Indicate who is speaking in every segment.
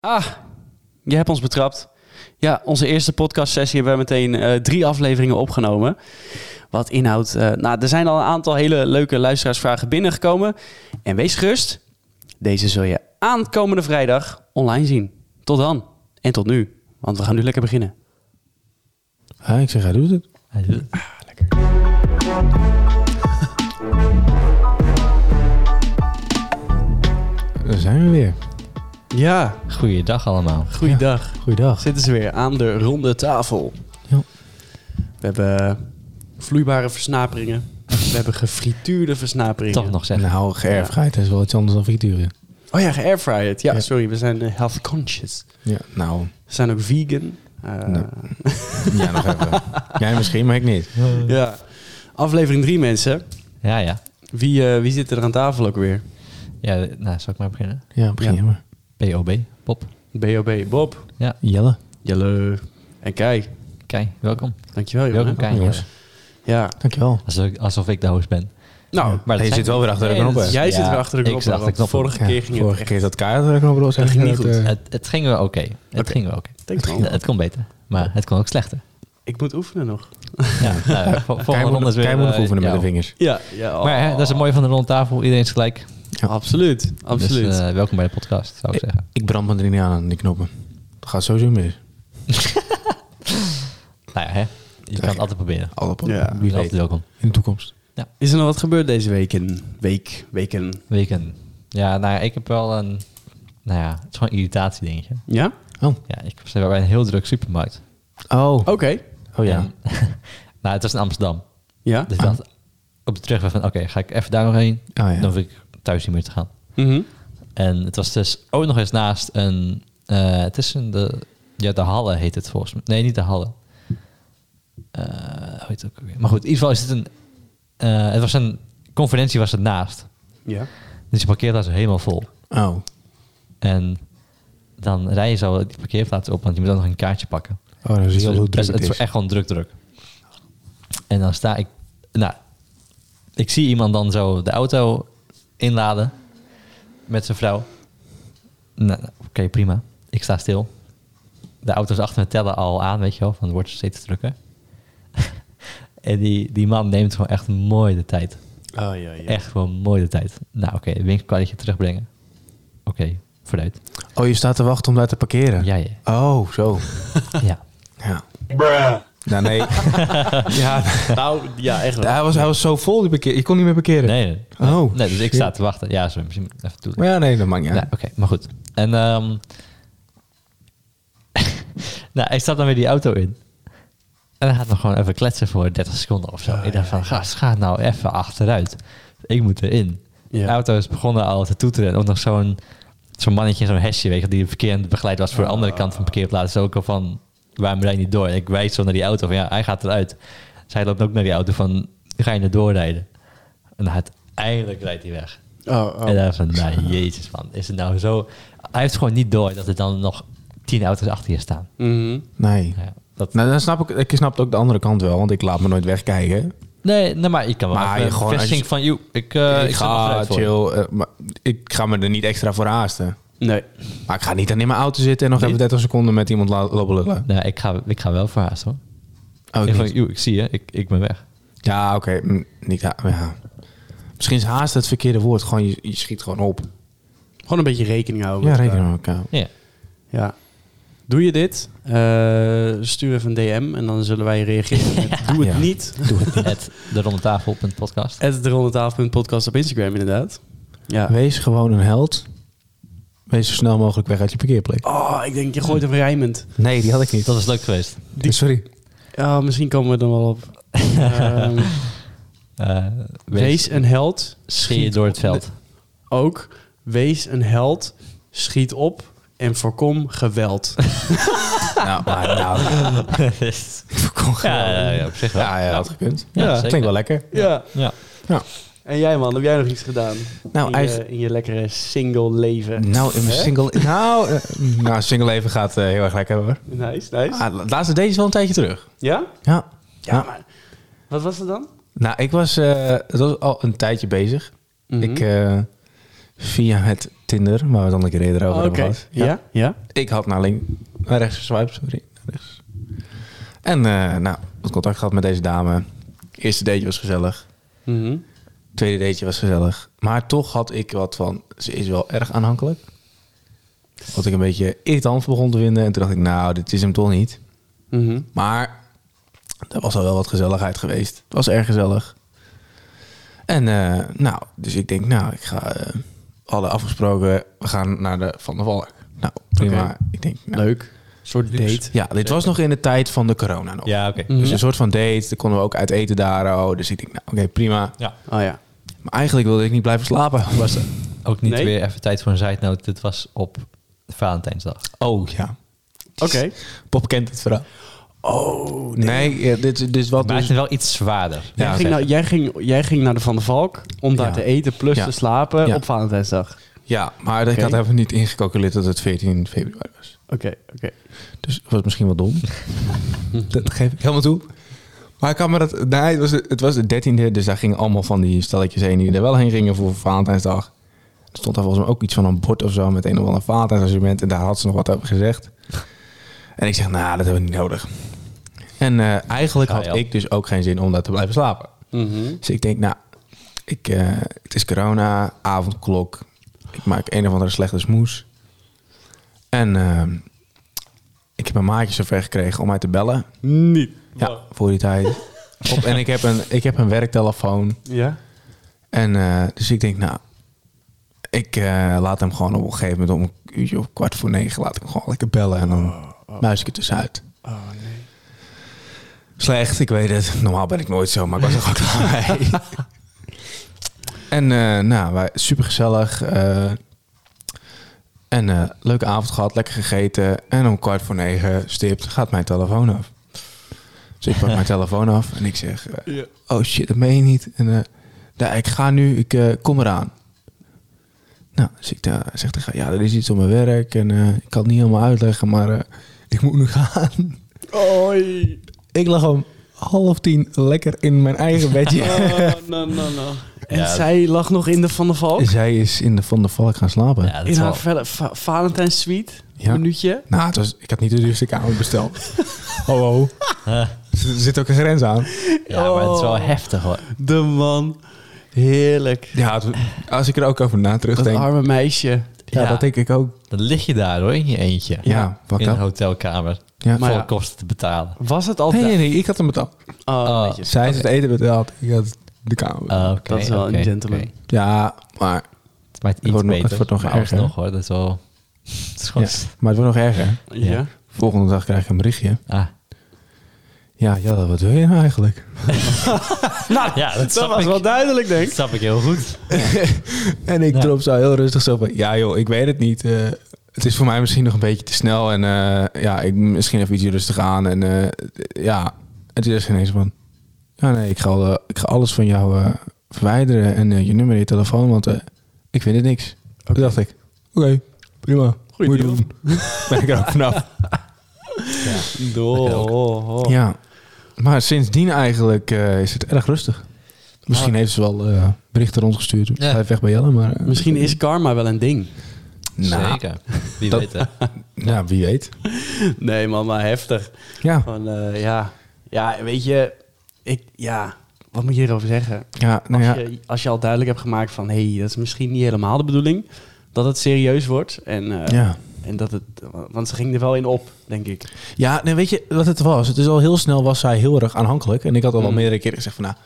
Speaker 1: Ah, je hebt ons betrapt. Ja, onze eerste podcastsessie hebben we meteen eh, drie afleveringen opgenomen. Wat inhoudt. eh, nou, er zijn al een aantal hele leuke luisteraarsvragen binnengekomen. En wees gerust, deze zul je aankomende vrijdag online zien. Tot dan en tot nu, want we gaan nu lekker beginnen.
Speaker 2: Ah, ik zeg, hij doet het. Ah, Daar zijn we weer.
Speaker 1: Ja,
Speaker 3: Goeiedag allemaal.
Speaker 1: goeiedag.
Speaker 2: Goeiedag.
Speaker 1: Zitten ze weer aan de ronde tafel.
Speaker 2: Ja.
Speaker 1: We hebben vloeibare versnaperingen. We hebben gefrituurde versnaperingen.
Speaker 3: Toch nog zeggen.
Speaker 2: Nou, geërfgeit is wel iets anders dan frituren.
Speaker 1: Oh ja, geairfryerd. Ja,
Speaker 2: Ja.
Speaker 1: sorry, we zijn eh, health conscious.
Speaker 2: Ja, nou,
Speaker 1: We zijn ook vegan. Eh,
Speaker 2: Nee. ja, nog even. Jij misschien, maar ik niet.
Speaker 1: Ja. Aflevering 3, mensen.
Speaker 3: Ja, ja.
Speaker 1: Wie, eh, wie zit er aan tafel ook weer?
Speaker 3: Ja, nou, zal ik maar beginnen?
Speaker 2: Ja, begin
Speaker 1: Ja.
Speaker 2: maar.
Speaker 3: B.O.B. Pop.
Speaker 1: B.O.B. Bob.
Speaker 2: Jelle.
Speaker 1: Jelle. En Kai.
Speaker 3: Kei, welkom.
Speaker 1: Dankjewel, jongen.
Speaker 3: welkom, Kei.
Speaker 2: jongens.
Speaker 1: Ja.
Speaker 2: Dankjewel.
Speaker 3: Alsof, alsof ik de host ben.
Speaker 1: Nou,
Speaker 3: Maar
Speaker 2: je zit wel weer achter de knop,
Speaker 3: knoppen.
Speaker 2: hè?
Speaker 1: jij zit weer achter de knop.
Speaker 3: Ik zit achter de knoppen.
Speaker 1: Vorige keer ging het
Speaker 2: vorige
Speaker 1: echt-
Speaker 2: keer dat keihard er ook nog los.
Speaker 1: Dat ging niet goed.
Speaker 3: Het, het ging wel oké. Het
Speaker 1: Oké.
Speaker 3: ging wel oké.
Speaker 1: Denk
Speaker 3: Het-
Speaker 1: wel.
Speaker 3: Het kon beter, maar het kon ook slechter.
Speaker 1: Ik moet oefenen nog.
Speaker 3: Ja, nou, ja, vol-
Speaker 2: Kei
Speaker 3: volgende ronde
Speaker 2: moet,
Speaker 3: is weer...
Speaker 2: Kai moet nog
Speaker 3: eh,
Speaker 2: oefenen met
Speaker 3: jou.
Speaker 2: de vingers.
Speaker 1: Ja, ja. oh.
Speaker 3: Maar hè, dat is het mooie van de ronde tafel. Iedereen is gelijk.
Speaker 1: Absoluut, absoluut.
Speaker 3: Dus eh, welkom bij de podcast, zou ik zeggen.
Speaker 2: Ik brand me er niet aan, aan die knoppen. Dat gaat sowieso mis.
Speaker 3: Nou ja, hè. Je kan het altijd proberen.
Speaker 2: Alle op.
Speaker 1: Ja.
Speaker 3: Je
Speaker 2: Wie
Speaker 3: bent altijd
Speaker 2: weet.
Speaker 3: welkom.
Speaker 2: In de toekomst.
Speaker 1: Is er nog wat gebeurd deze weken? Week, weken.
Speaker 3: Weekend. Ja, nou ja, ik heb wel een... Nou ja, het is gewoon een irritatie dingetje.
Speaker 1: Ja?
Speaker 3: Ja, ik was bij een heel druk supermarkt.
Speaker 2: Oh.
Speaker 1: Oké.
Speaker 2: Oh ja.
Speaker 3: En- nou, het was in Amsterdam.
Speaker 1: Ja?
Speaker 3: Dus ik dacht op de terugweg van, oké, ga ik even daar nog heen.
Speaker 2: Ah, ja.
Speaker 3: Dan hoef ik thuis niet meer te gaan.
Speaker 1: Mhm.
Speaker 3: En het was dus ook nog eens naast een... eh, het is een... De, ja, de Halle heet het volgens mij. Nee, niet de Halle. Eh, hoe heet het ook weer? Maar goed, in ieder geval is het een... eh, het was een... Conferentie was het naast.
Speaker 1: Ja.
Speaker 3: Dus je parkeerplaats was helemaal vol.
Speaker 2: Oh.
Speaker 3: En dan rij je zo die parkeerplaats op, want je moet ook nog een kaartje pakken.
Speaker 2: Oh, dan zie je al hoe druk
Speaker 3: Dus het
Speaker 2: het
Speaker 3: is
Speaker 2: is.
Speaker 3: echt gewoon druk, druk. En dan sta ik... Nou, ik zie iemand dan zo de auto inladen met zijn vrouw. Nou, nou, oké, prima. Ik sta stil. De auto's achter me tellen al aan, weet je wel. Van het wordt steeds drukker. en die, die man neemt gewoon echt mooi de tijd.
Speaker 1: Oh, ja, ja.
Speaker 3: Echt gewoon mooi de tijd. Nou, oké, okay, winkelkwartje terugbrengen. Oké, vooruit.
Speaker 2: Oh, je staat te wachten om daar te parkeren?
Speaker 3: Ja, ja.
Speaker 2: Oh, zo.
Speaker 3: ja.
Speaker 2: Ja. Nou, nee. ja,
Speaker 1: Nou, ja, echt wel.
Speaker 2: hij was, hij was zo vol, die parkeer. Je kon niet meer parkeren.
Speaker 3: Nee, nee.
Speaker 2: Oh,
Speaker 3: nee, dus ik
Speaker 2: shit.
Speaker 3: sta te wachten. Ja, sorry, misschien even toe.
Speaker 2: Maar ja, nee, dat maakt niet
Speaker 3: Nou,
Speaker 2: uit.
Speaker 3: oké, maar goed. En ehm nou, hij stapt dan weer die auto in. En hij gaat nog gewoon even kletsen voor 30 seconden of zo. ik dacht van, gast, ga nou even achteruit. Ik moet erin.
Speaker 1: Ja.
Speaker 3: De auto is begonnen al te toeteren. En ook nog zo'n zo'n mannetje, in zo'n hesje, weet je, die verkeerd begeleid was voor de andere kant van de parkeerplaats. Dus ook al van, waarom rijd je niet door? En ik wijs zo naar die auto van, ja, hij gaat eruit. Zij loopt ook naar die auto van, ga je naar doorrijden? En uiteindelijk rijdt hij weg.
Speaker 1: Oh,
Speaker 3: En dan van, nou jezus man, is het nou zo... Hij heeft gewoon niet door dat er dan nog tien auto's achter je staan.
Speaker 1: Mhm.
Speaker 2: Nee.
Speaker 3: Ja, dat,
Speaker 2: Nou, dan snap ik, ik snap het ook de andere kant wel, want ik laat me nooit wegkijken.
Speaker 3: nee, nee, maar je kan wel
Speaker 2: Maar
Speaker 3: even
Speaker 2: je gewoon
Speaker 3: een vestiging van... Joe, ik, eh, ik,
Speaker 2: ik
Speaker 3: zet nog
Speaker 2: ga
Speaker 3: eruit voor je."
Speaker 2: chill, eh, maar ik ga me er niet extra voor haasten.
Speaker 1: Nee.
Speaker 2: Maar ik ga niet dan in mijn auto zitten en nog even 30 seconden met iemand la- lopen lullen.
Speaker 3: Nou, ik ga, ik ga wel verhaasten hoor.
Speaker 2: Oh, ik
Speaker 3: Ik, van,
Speaker 2: niet.
Speaker 3: "Joe, ik zie je, ik, ik ben weg.
Speaker 2: Ja, oké. mm, Niet. ha- Ja. Misschien is haast het verkeerde woord. Gewoon, je, je schiet gewoon op. eh,
Speaker 1: Gewoon een beetje rekening houden.
Speaker 2: Ja,
Speaker 1: met
Speaker 2: reken
Speaker 1: elkaar.
Speaker 2: maar elkaar.
Speaker 3: Ja,
Speaker 1: Ja. Doe je dit? eh, stuur even een DM en dan zullen wij reageren. met Doe het
Speaker 2: Ja.
Speaker 1: niet.
Speaker 2: Doe het.
Speaker 3: het de rondetafel.podcast.
Speaker 1: At derondetafel.podcast op Instagram, inderdaad. Ja.
Speaker 2: Wees gewoon een held. Wees zo snel mogelijk weg uit je parkeerplek.
Speaker 1: Oh, ik denk, je gooit hem rijmend.
Speaker 2: Nee, die had ik
Speaker 3: Dat is leuk geweest.
Speaker 2: Sorry.
Speaker 1: Ja, misschien komen we er dan wel op. Ehm,
Speaker 3: Eh,
Speaker 1: wees een held.
Speaker 3: Scheer je door het veld.
Speaker 1: Ook, wees een held. Schiet op en voorkom geweld.
Speaker 2: Nou, maar nou,
Speaker 3: Kom ja, ja, ja, op zich wel.
Speaker 2: ja, ja, had gekund.
Speaker 3: Ja,
Speaker 2: Ja,
Speaker 3: zeker.
Speaker 2: klinkt wel lekker.
Speaker 1: ja.
Speaker 3: Ja.
Speaker 1: En jij man, heb jij nog iets gedaan?
Speaker 2: Nou,
Speaker 1: in, je,
Speaker 2: eigenlijk-
Speaker 1: in je lekkere single leven.
Speaker 2: Nou, in mijn
Speaker 1: Hè?
Speaker 2: single... Nou, eh, nou single leven gaat eh, heel erg lekker hoor.
Speaker 1: Nice, nice.
Speaker 2: Ah, la- laatste deze is wel een tijdje terug.
Speaker 1: Ja?
Speaker 2: Ja.
Speaker 1: Ja, maar... Wat was het dan? Mhm.
Speaker 2: eh, Nou, ik was, eh, het was al een tijdje bezig. Ik eh, via het Tinder, waar we dan een keer eerder over
Speaker 1: Oh, Oké.
Speaker 2: hebben gehad.
Speaker 1: Ja? ja?
Speaker 2: Ik had naar link, naar rechts geswiped, sorry. Naar rechts. En eh, nou, wat contact gehad met deze dame. Eerste dateje was gezellig.
Speaker 1: Mhm.
Speaker 2: Tweede dateje was gezellig. Maar toch had ik wat van, ze is wel erg aanhankelijk. Wat ik een beetje irritant begon te vinden. En toen dacht ik, nou, dit is hem toch niet.
Speaker 1: Mhm.
Speaker 2: Maar er was al wel wat gezelligheid geweest. Het was erg gezellig. En eh, nou, dus ik denk, nou, ik ga eh, alle afgesproken, we gaan naar de Van der Valk. Nou, prima.
Speaker 1: Oké.
Speaker 2: Ik denk, nou,
Speaker 1: Leuk. Een soort date.
Speaker 2: ja, dit was nog in de tijd van de corona nog.
Speaker 3: Ja, oké.
Speaker 1: Mhm.
Speaker 2: Dus een soort van date. Daar konden we ook uit eten daar. Oh. Dus ik denk, nou, oké, prima.
Speaker 3: Ja.
Speaker 1: Oh ja.
Speaker 2: Maar eigenlijk wilde ik niet blijven slapen. Was
Speaker 3: Ook niet
Speaker 1: Nee?
Speaker 3: weer even tijd voor een side note. Dit was op Valentijnsdag.
Speaker 2: Oh, ja.
Speaker 1: Oké.
Speaker 2: Pop kent het verhaal. Oh, nee. ja, dit, is- dit is
Speaker 3: Het
Speaker 2: wat
Speaker 3: maakt
Speaker 2: dus...
Speaker 3: het wel iets zwaarder.
Speaker 1: Jij,
Speaker 2: Ja,
Speaker 1: ging
Speaker 2: zeg.
Speaker 1: nou, jij, ging, jij ging naar de Van der Valk om daar
Speaker 2: Ja.
Speaker 1: te eten plus
Speaker 2: Ja.
Speaker 1: te slapen
Speaker 2: Ja.
Speaker 1: op Valentijnsdag.
Speaker 2: Ja, maar ik
Speaker 1: Oké.
Speaker 2: had even niet ingecalculeerd dat het 14 februari was.
Speaker 1: Oké, oké.
Speaker 2: Dus dat was misschien wel dom. dat geef ik helemaal toe. Maar ik kan me dat... Nee, het was, de- het was de 13e, dus daar gingen allemaal van die stelletjes heen... die er wel heen gingen voor Valentijnsdag. Er stond daar volgens mij ook iets van een bord of zo... met een of ander Valentijnsargument. En daar had ze nog wat over gezegd. En ik zeg, nou, dat hebben we niet nodig. En eh, eigenlijk
Speaker 3: Ga je
Speaker 2: had
Speaker 3: al.
Speaker 2: ik dus ook geen zin om daar te blijven slapen.
Speaker 1: Mhm.
Speaker 2: Dus ik denk, nou, ik, eh, het is corona, avondklok. Ik maak een of andere slechte smoes. En ehm, ik heb een maatje zover gekregen om mij te bellen.
Speaker 1: Niet.
Speaker 2: Ja, voor die tijd. Op, en ik heb, een, ik heb een werktelefoon.
Speaker 1: Ja?
Speaker 2: En eh, dus ik denk, nou, ik eh, laat hem gewoon op een gegeven moment om een uurtje of kwart voor negen laat ik hem gewoon lekker bellen. En dan muis ik het dus uit.
Speaker 1: Oh nee.
Speaker 2: Slecht, ik weet het. Normaal ben ik nooit zo, maar ik was er gewoon klaar mee. En eh nou, wij, supergezellig. eh en eh, leuke avond gehad, lekker gegeten. En om kwart voor negen stipt gaat mijn telefoon af. Dus ik pak mijn telefoon af en ik zeg... eh,
Speaker 1: Ja.
Speaker 2: oh shit, dat meen je niet. En, eh, nou, ik ga nu, ik eh, kom eraan. Nou, dus ik daar zeg tegen haar, ja, er is iets op mijn werk. En eh, ik kan het niet helemaal uitleggen, maar eh, ik moet nu gaan.
Speaker 1: Oei.
Speaker 2: Ik lag om half tien lekker in mijn eigen bedje.
Speaker 1: Oh, no, no, no. En
Speaker 3: Ja.
Speaker 1: zij lag nog in de Van der Valk.
Speaker 2: Zij is in de Van der Valk gaan slapen.
Speaker 3: Ja, dat
Speaker 1: In
Speaker 3: is
Speaker 1: haar
Speaker 3: wel...
Speaker 1: velle- va Valentijns suite.
Speaker 2: Ja.
Speaker 1: Minuutje.
Speaker 2: Nou, het was, ik had niet de duurste kamer besteld. oh, oh. Er zit ook een grens aan.
Speaker 3: Ja, maar het is wel
Speaker 1: Oh.
Speaker 3: heftig hoor.
Speaker 1: De man. Heerlijk.
Speaker 2: Ja, het- als ik er ook over na
Speaker 1: Dat
Speaker 2: terugdenk.
Speaker 1: arme meisje.
Speaker 2: ja,
Speaker 3: Ja.
Speaker 2: dat denk ik ook.
Speaker 3: Dan lig je daar hoor, in je eentje.
Speaker 2: Ja, fuck
Speaker 3: in een
Speaker 2: up.
Speaker 3: hotelkamer.
Speaker 2: Ja.
Speaker 1: Maar
Speaker 3: voor
Speaker 1: ja.
Speaker 3: kosten te betalen.
Speaker 1: Was het altijd...
Speaker 2: Nee, nee, nee, ik had hem betaald.
Speaker 1: Oh,
Speaker 3: Oh.
Speaker 1: netjes.
Speaker 2: Zij is het eten betaald, ik had de kamer. betaald.
Speaker 3: Ah, oké,
Speaker 1: Dat is wel
Speaker 3: oké,
Speaker 1: een gentleman.
Speaker 3: oké.
Speaker 2: Ja, maar,
Speaker 3: Het maakt iets
Speaker 2: wordt nog-
Speaker 3: beter.
Speaker 2: het wordt nog
Speaker 3: maar
Speaker 2: erger, hè?
Speaker 3: alsnog, hoor, dat is wel... Het is
Speaker 2: ja,
Speaker 3: gewoon...
Speaker 2: maar het wordt nog erger.
Speaker 1: Ja.
Speaker 3: Ja.
Speaker 2: Volgende dag krijg ik een berichtje.
Speaker 3: Ah.
Speaker 2: Ja, ja, wat wil je nou eigenlijk?
Speaker 3: Nou, ja, dat,
Speaker 1: Dat
Speaker 3: snap
Speaker 1: was
Speaker 3: ik.
Speaker 1: wel duidelijk, denk
Speaker 3: Ah, Dat
Speaker 1: ik.
Speaker 3: snap ik heel goed.
Speaker 2: En ik
Speaker 3: Ja.
Speaker 2: drop zo heel rustig zo van... Ja joh, ik weet het niet. eh, het is voor mij misschien nog een beetje te snel. En eh, ja, ik, misschien even iets rustig aan. En eh, ja, het is ineens van... Ja nee, ik ga, eh, ik ga alles van jou eh, verwijderen. En eh, je nummer, je telefoon. Want eh, ik vind het niks. Toen dacht ik, oké, prima.
Speaker 1: Goeie
Speaker 2: Moet je
Speaker 1: deal.
Speaker 2: doen. ben ik er ook vanaf.
Speaker 1: Oh, oh, oh.
Speaker 2: Ja. Maar sindsdien eigenlijk eh, is het erg rustig. Misschien heeft ze wel eh, berichten rondgestuurd.
Speaker 3: Ja.
Speaker 2: Blijf weg bij Jelle, maar... eh,
Speaker 1: Misschien is karma wel een ding.
Speaker 2: nou,
Speaker 3: Zeker. Wie
Speaker 2: dat-
Speaker 3: weet het.
Speaker 2: Ja, wie weet.
Speaker 1: Nee, man, maar heftig.
Speaker 2: Ja.
Speaker 1: Van, eh, ja. ja, weet je, ik, ja, wat moet je hierover zeggen?
Speaker 2: Ja, nou
Speaker 1: Als,
Speaker 2: ja.
Speaker 1: je, als je al duidelijk hebt gemaakt van, hé, hey, dat is misschien niet helemaal de bedoeling, dat het serieus wordt en, eh,
Speaker 2: Ja.
Speaker 1: en dat het, want ze ging er wel in op, denk ik.
Speaker 2: ja, nee, weet je wat het was? Het is al heel snel was zij heel erg aanhankelijk. En ik had al wel
Speaker 1: Mm.
Speaker 2: meerdere keren gezegd van... Nou,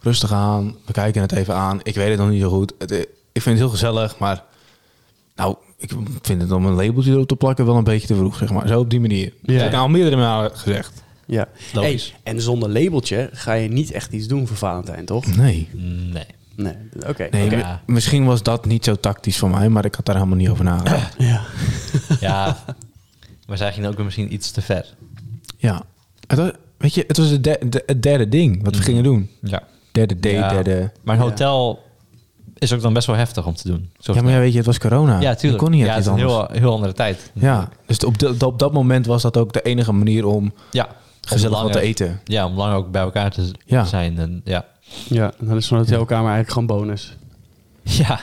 Speaker 2: rustig aan, we kijken het even aan. Ik weet het nog niet zo goed. Het, eh, ik vind het heel gezellig, maar... Nou, ik vind het om een labeltje erop te plakken wel een beetje te vroeg, zeg maar. Zo op die manier. Dat heb ik al meerdere malen gezegd.
Speaker 1: Ja,
Speaker 3: Logisch.
Speaker 1: Hey, en zonder labeltje ga je niet echt iets doen voor Valentijn, toch?
Speaker 2: Nee.
Speaker 3: Nee.
Speaker 1: Nee, oké.
Speaker 2: Nee,
Speaker 1: oké.
Speaker 3: Oké.
Speaker 2: mi- misschien was dat niet zo tactisch van mij, maar ik had daar helemaal niet over nagedacht.
Speaker 1: Ja.
Speaker 3: Ja. maar zij gingen ook weer misschien iets te ver.
Speaker 2: ja. Het was, weet je, het was het, de- de- het derde ding wat we gingen doen.
Speaker 3: Ja.
Speaker 2: Derde date,
Speaker 3: Mhm. Ja.
Speaker 2: derde...
Speaker 3: Maar een hotel is ook dan best wel heftig om te doen. Zo
Speaker 2: Ja, maar ja, weet je, het was corona.
Speaker 3: ja,
Speaker 2: Je
Speaker 3: tuurlijk.
Speaker 2: kon niet
Speaker 3: ja,
Speaker 2: echt
Speaker 3: het is
Speaker 2: iets
Speaker 3: een
Speaker 2: anders.
Speaker 3: heel, heel andere tijd.
Speaker 2: Ja, dus op, de- op dat moment was dat ook de enige manier om
Speaker 3: Ja. Om
Speaker 2: gezellig wat
Speaker 3: langer-
Speaker 2: te eten.
Speaker 3: Ja, om lang ook bij elkaar te z-
Speaker 2: Ja.
Speaker 3: zijn. En, ja.
Speaker 1: ja, dan is zo'n hotelkamer eigenlijk gewoon bonus.
Speaker 3: Ja.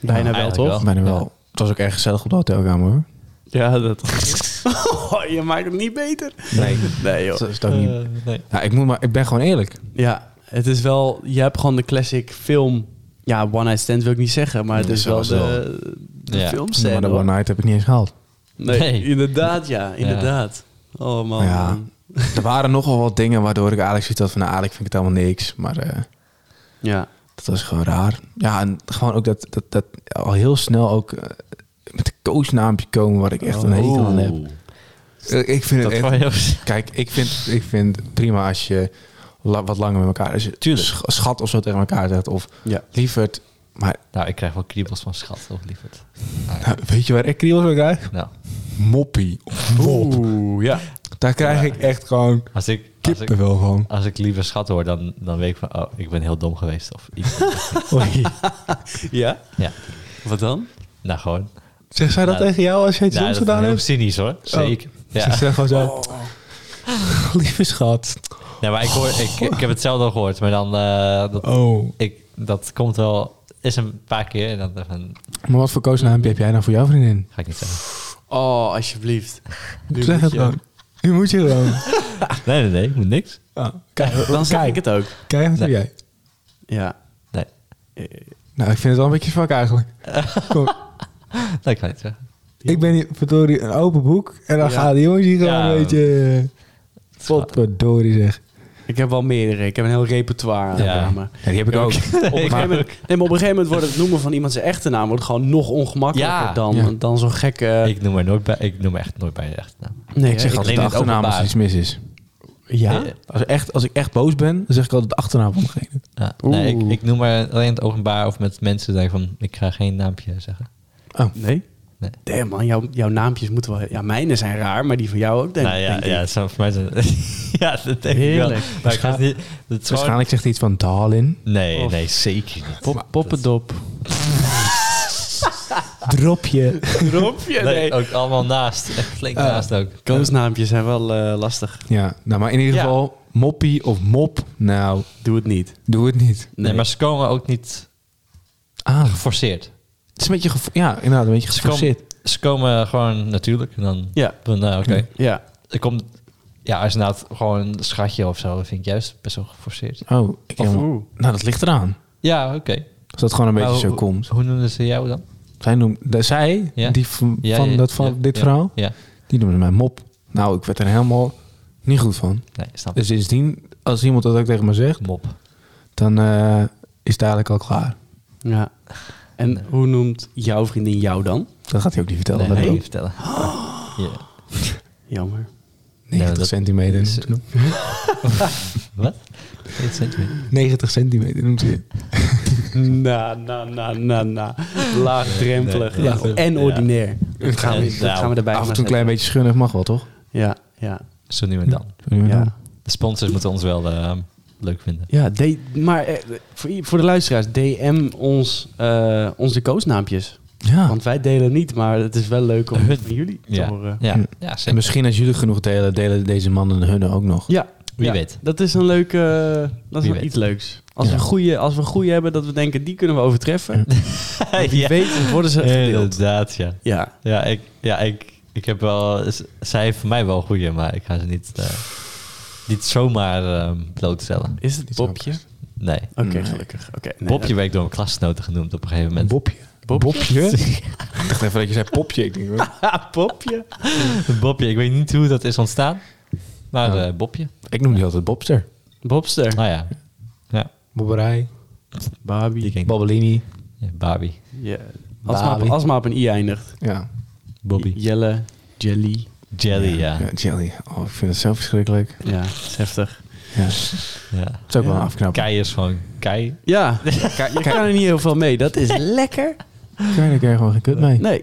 Speaker 1: Bijna wel,
Speaker 3: eigenlijk
Speaker 1: toch?
Speaker 3: wel.
Speaker 2: Bijna wel. Het was ook erg gezellig op de hotelkamer hoor.
Speaker 1: Ja, dat... Oh, je maakt het niet beter.
Speaker 2: Nee.
Speaker 1: Nee, joh.
Speaker 2: Dat is toch niet...
Speaker 3: Eh, nee.
Speaker 2: Nou, ik, moet maar, ik ben gewoon eerlijk.
Speaker 1: Ja, het is wel... Je hebt gewoon de classic film... Ja, One Night Stand wil ik niet zeggen, maar het
Speaker 2: Ja,
Speaker 1: is
Speaker 2: zo
Speaker 1: wel
Speaker 2: is
Speaker 1: de, de
Speaker 3: Ja.
Speaker 1: filmscène,
Speaker 2: maar de
Speaker 1: hoor.
Speaker 2: One Night heb ik niet eens gehaald.
Speaker 1: Nee,
Speaker 3: Nee.
Speaker 1: inderdaad, ja. Inderdaad. Oh man.
Speaker 2: Ja. er waren nogal wat dingen waardoor ik eigenlijk zoiets had van... Nou, eigenlijk vind ik het allemaal niks. Maar eh,
Speaker 1: Ja.
Speaker 2: dat was gewoon raar. Ja, en gewoon ook dat, dat, dat al heel snel ook... eh, met de coachnaampje komen waar ik echt een hekel aan heb. Eh, Ik vind
Speaker 3: Oh.
Speaker 2: het
Speaker 3: Dat
Speaker 2: echt-
Speaker 3: vond je ook-
Speaker 2: Kijk, ik vind, ik vind prima als je la- wat langer met elkaar... Als je
Speaker 1: Tuurlijk.
Speaker 2: sch- schat of zo tegen elkaar zegt. Of
Speaker 1: Ja.
Speaker 2: lieverd. Maar
Speaker 3: Nou, ik krijg wel kriebels van schat, of lieverd.
Speaker 2: nou, weet je waar ik kriebels van krijg?
Speaker 3: Nou,
Speaker 2: Moppie. Of mop.
Speaker 1: Oeh, ja.
Speaker 2: Daar krijg ik echt gewoon
Speaker 3: als ik, als ik,
Speaker 2: kippenvel van.
Speaker 3: als ik liever schat hoor, dan, dan weet ik van, oh, ik ben heel dom geweest of iets.
Speaker 1: Ja?
Speaker 3: Ja.
Speaker 1: Wat dan?
Speaker 3: Nou, gewoon.
Speaker 2: Zeg zij dat
Speaker 3: Nou,
Speaker 2: tegen jou als jij iets
Speaker 3: nou,
Speaker 2: soms
Speaker 3: dat is
Speaker 2: gedaan
Speaker 3: heel
Speaker 2: hebt?
Speaker 3: cynisch hoor. Zeker.
Speaker 2: Ze
Speaker 3: Ja. Oh.
Speaker 2: zegt gewoon zo... Lieve schat.
Speaker 3: Nee, maar ik, hoor, ik, ik heb hetzelfde al gehoord, maar dan, eh, dat,
Speaker 2: Oh.
Speaker 3: ik, dat komt wel, is een paar keer en dan even,
Speaker 2: Maar wat voor koosnaam heb jij nou voor jouw vriendin?
Speaker 3: ga ik niet zeggen.
Speaker 1: Oh, alsjeblieft. Nu
Speaker 2: zeg
Speaker 1: moet
Speaker 2: het
Speaker 1: je-
Speaker 2: gewoon. Nu moet je gewoon.
Speaker 3: Nee, nee, nee, ik moet niks.
Speaker 2: Ah,
Speaker 1: Kijk, dan zeg ik het ook.
Speaker 2: Kijk, wat doe
Speaker 3: Nee.
Speaker 2: jij?
Speaker 1: Ja.
Speaker 3: Nee,
Speaker 2: Nou, ik vind het wel een beetje zwak eigenlijk. Kom,
Speaker 3: dat kan ik niet zeggen.
Speaker 2: ik ben hier, verdorie, een open boek. En dan
Speaker 1: Ja.
Speaker 2: gaan die jongens hier gewoon
Speaker 3: Ja.
Speaker 2: een beetje... eh, Potverdorie zeg.
Speaker 1: Ik heb wel meerdere. Ik heb een heel repertoire aan
Speaker 3: Ja.
Speaker 1: ja. maar
Speaker 2: Ja, die heb ik ook.
Speaker 1: op een, gegeven moment, nee, maar op een gegeven moment wordt het noemen van iemand zijn echte naam wordt gewoon nog ongemakkelijker
Speaker 3: Ja.
Speaker 1: dan,
Speaker 2: Ja.
Speaker 1: dan zo'n gekke...
Speaker 3: Ik noem er nooit bij, ik noem echt nooit bij je echt naam.
Speaker 1: nee,
Speaker 2: Ik zeg
Speaker 1: ik-
Speaker 2: altijd
Speaker 3: in
Speaker 2: de
Speaker 3: het
Speaker 2: achternaam als er
Speaker 3: openbaar.
Speaker 2: iets mis is.
Speaker 1: ja?
Speaker 3: Nee,
Speaker 2: Als, echt, als ik echt boos ben, dan zeg ik altijd de achternaam van degene.
Speaker 3: ja. nee ik,
Speaker 1: Oeh.
Speaker 3: ik noem maar alleen in het openbaar of met mensen denk ik van, ik ga geen naampje zeggen.
Speaker 1: Nee?
Speaker 3: Nee.
Speaker 1: Damn man, jouw, jouw naampjes moeten wel... Ja, mijne zijn raar, maar die van jou ook denk,
Speaker 3: nou ja,
Speaker 1: denk ik.
Speaker 3: ja, het zou voor mij zijn. ja, dat denk ik wel.
Speaker 1: Heerlijk.
Speaker 3: Maar ik ga het niet. Dat is gewoon-
Speaker 2: Waarschijnlijk zegt hij iets van Darlin.
Speaker 3: Nee,
Speaker 1: Of-
Speaker 3: nee, zeker niet.
Speaker 1: Pop, poppendop.
Speaker 2: Dropje.
Speaker 1: Dropje,
Speaker 3: Nee, oh.
Speaker 1: nee.
Speaker 3: ook allemaal naast. Echt flink
Speaker 2: Ah.
Speaker 3: naast ook.
Speaker 1: Koosnaampjes zijn wel eh, lastig.
Speaker 2: Ja, nou, maar in ieder
Speaker 1: Ja.
Speaker 2: geval, moppie of mop, nou,
Speaker 1: Doe het niet.
Speaker 2: doe het niet.
Speaker 3: Nee. maar ze komen ook niet
Speaker 2: Ah,
Speaker 3: geforceerd.
Speaker 2: het is een beetje, gevo- ja, inderdaad, een beetje
Speaker 3: Ze komen,
Speaker 2: geforceerd.
Speaker 3: ze komen gewoon natuurlijk. En dan,
Speaker 1: Ja.
Speaker 3: dan nou, oké.
Speaker 1: Ja.
Speaker 3: Er komt, ja, als inderdaad gewoon een schatje of zo, vind ik juist best wel geforceerd.
Speaker 2: Oh, ik
Speaker 1: Of
Speaker 2: helemaal-
Speaker 1: oeh.
Speaker 2: nou, dat ligt eraan.
Speaker 3: Ja, oké.
Speaker 2: Als dat gewoon een beetje
Speaker 3: Maar
Speaker 2: zo
Speaker 3: Nou, hoe-
Speaker 2: komt.
Speaker 3: Hoe noemden ze jou dan?
Speaker 2: Zij noemt, de, zij,
Speaker 3: Ja.
Speaker 2: die van,
Speaker 3: Ja,
Speaker 2: van
Speaker 3: ja,
Speaker 2: dat, van
Speaker 3: ja,
Speaker 2: dit
Speaker 3: ja,
Speaker 2: verhaal,
Speaker 3: Ja,
Speaker 2: die noemde mij mop. Nou, ik werd er helemaal niet goed van.
Speaker 3: nee, snap ik.
Speaker 2: Dus sindsdien, als iemand dat ook tegen me zegt,
Speaker 3: Mop.
Speaker 2: dan eh, is het eigenlijk al klaar.
Speaker 1: Ja. En hoe noemt jouw vriendin jou dan?
Speaker 2: Dat gaat hij ook niet vertellen.
Speaker 3: Nee,
Speaker 2: dat
Speaker 3: dat wil ik
Speaker 2: ook.
Speaker 3: niet vertellen. Ja.
Speaker 1: Jammer.
Speaker 2: 90
Speaker 3: Nee, dat-
Speaker 2: centimeter.
Speaker 3: is-
Speaker 2: noemt ze hem.
Speaker 3: Wat? Dit zijn twee.
Speaker 2: 90 centimeter noemt hij.
Speaker 1: Na, na, na, na, na. Laagdrempelig
Speaker 3: Nee, nee, nee.
Speaker 1: en
Speaker 3: Ja.
Speaker 1: ordinair.
Speaker 2: Dat gaan we
Speaker 1: Dat
Speaker 2: niet.
Speaker 3: Nou,
Speaker 1: gaan we erbij
Speaker 2: Af en
Speaker 1: maar
Speaker 2: toe een
Speaker 1: zetten.
Speaker 2: klein beetje schunnig mag wel, toch?
Speaker 1: Ja, ja.
Speaker 3: Zo nu en dan.
Speaker 1: Ja,
Speaker 3: De sponsors moeten ons wel eh, leuk vinden.
Speaker 1: ja D- maar eh, voor, i- voor de luisteraars, DM ons eh, onze koosnaampjes.
Speaker 2: Ja.
Speaker 1: Want wij delen niet, maar het is wel leuk om
Speaker 3: Ah. Hun.
Speaker 1: het van jullie te
Speaker 3: Ja,
Speaker 1: horen.
Speaker 3: ja. ja
Speaker 2: Hm. En dus-
Speaker 3: zeker.
Speaker 2: misschien als jullie genoeg delen, delen deze mannen hun ook nog.
Speaker 1: Ja,
Speaker 3: Wie
Speaker 1: ja,
Speaker 3: weet.
Speaker 1: Dat is een leuke. eh, dat is
Speaker 3: Wie
Speaker 1: wel
Speaker 3: weet.
Speaker 1: iets leuks. Als,
Speaker 2: Ja.
Speaker 1: we goeie, als we een goeie hebben dat we denken, die kunnen we overtreffen. Wie
Speaker 3: Ja.
Speaker 1: weet, worden ze gedeeld.
Speaker 3: Inderdaad, ja.
Speaker 1: Ja.
Speaker 3: Ja, ik, ja ik, ik heb wel... z- Zij heeft voor mij wel goede, maar ik ga ze niet, eh, niet zomaar ehm, blootstellen.
Speaker 1: Is het Bobje? Oké,
Speaker 3: Nee.
Speaker 2: Nee.
Speaker 1: gelukkig. Oké. nee,
Speaker 3: Bobje werd door een klasgenoten genoemd op een gegeven moment.
Speaker 2: Bobje.
Speaker 1: Bobje?
Speaker 2: ik dacht even dat je zei popje. Ik denk, wat?
Speaker 1: Ah, Popje.
Speaker 3: Bobje, ik weet niet hoe dat is ontstaan. Maar
Speaker 2: Ja.
Speaker 3: eh, Bobje.
Speaker 2: ik noem die altijd Bobster.
Speaker 1: Bobster.
Speaker 3: Nou ja. Ja,
Speaker 2: Bobberij.
Speaker 3: die
Speaker 1: Barbie.
Speaker 3: ken ik.
Speaker 2: Babbelini.
Speaker 3: Ja, Barbie.
Speaker 1: Ja. Als, het maar op,
Speaker 2: Barbie.
Speaker 1: als het maar op een i eindigt.
Speaker 2: Ja.
Speaker 3: Bobby.
Speaker 1: Jelle. Jelly.
Speaker 3: Jelly, ja.
Speaker 2: ja. Jelly. Oh, ik vind het zo verschrikkelijk.
Speaker 1: Ja, dat is heftig.
Speaker 2: Ja. Het
Speaker 3: ja.
Speaker 2: is ook wel
Speaker 1: Ja.
Speaker 2: een afknapper.
Speaker 3: Kei is gewoon kei.
Speaker 1: Ja, je kan er niet heel veel mee. Dat is lekker.
Speaker 2: Kijk, daar kun je gewoon geen kut mee.
Speaker 1: Nee,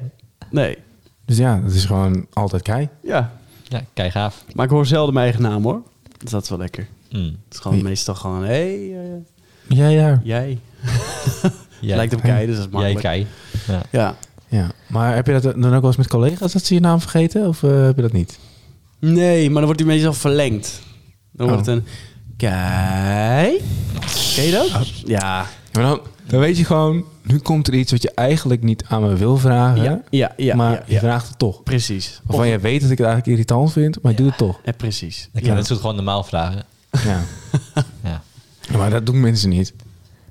Speaker 1: nee.
Speaker 2: Dus ja, dat is gewoon altijd kei.
Speaker 1: Ja,
Speaker 3: Ja, kei gaaf.
Speaker 1: maar ik hoor zelden mijn eigen naam hoor. Dus dat is wel lekker.
Speaker 3: Mm.
Speaker 1: Het is gewoon
Speaker 2: Ja.
Speaker 1: meestal gewoon, hé, hey, eh,
Speaker 2: Ja, ja.
Speaker 1: jij.
Speaker 3: Jij-
Speaker 1: Lijkt op Kei, dus dat is
Speaker 3: Jij
Speaker 1: makkelijk.
Speaker 3: kei. Ja.
Speaker 1: Ja.
Speaker 2: ja. Maar heb je dat dan ook wel eens met collega's dat ze je naam vergeten? Of eh, heb je dat niet?
Speaker 1: Nee, maar dan wordt die meestal verlengd. Dan wordt
Speaker 2: Oh.
Speaker 1: het een kei. Ken je dat? Ja.
Speaker 2: Oh, Ja, maar dan, Dan weet je gewoon, nu komt er iets wat je eigenlijk niet aan me wil vragen.
Speaker 1: Ja, ja, ja.
Speaker 2: maar
Speaker 1: ja,
Speaker 2: je
Speaker 1: ja.
Speaker 2: vraagt het toch.
Speaker 1: Precies.
Speaker 2: Waarvan je weet dat ik het eigenlijk irritant vind, maar ik doe het toch.
Speaker 1: Ja, precies.
Speaker 3: Ik
Speaker 1: Ja.
Speaker 3: kan het soort gewoon normaal vragen.
Speaker 2: Ja.
Speaker 3: Ja.
Speaker 2: Ja, maar dat doen mensen niet.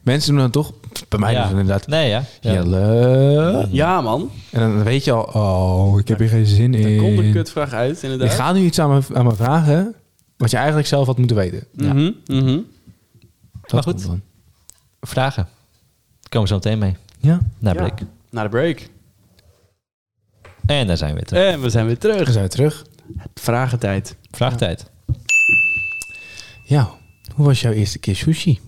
Speaker 2: Mensen doen dan toch, bij mij
Speaker 3: Ja.
Speaker 2: doen ze inderdaad,
Speaker 3: Nee, ja. ja.
Speaker 2: jelle.
Speaker 1: Ja, man.
Speaker 2: En dan weet je al, oh, ik heb hier geen zin
Speaker 1: Daar
Speaker 2: in.
Speaker 1: komt een kutvraag uit,
Speaker 2: Je
Speaker 1: inderdaad.
Speaker 2: gaat nu iets aan me, aan me vragen, wat je eigenlijk zelf had moeten weten.
Speaker 1: Mhm, mhm.
Speaker 2: Dat
Speaker 3: Maar goed.
Speaker 2: komt dan.
Speaker 3: Vragen. Daar komen we zo meteen mee.
Speaker 2: Ja,
Speaker 3: Naar
Speaker 1: Ja.
Speaker 3: Blik.
Speaker 1: Na de break.
Speaker 3: En daar zijn we weer terug.
Speaker 1: En we zijn weer
Speaker 2: dan
Speaker 1: terug.
Speaker 2: zijn we terug.
Speaker 1: Vragentijd.
Speaker 3: Vraagtijd.
Speaker 2: Ja, hoe was jouw eerste keer sushi?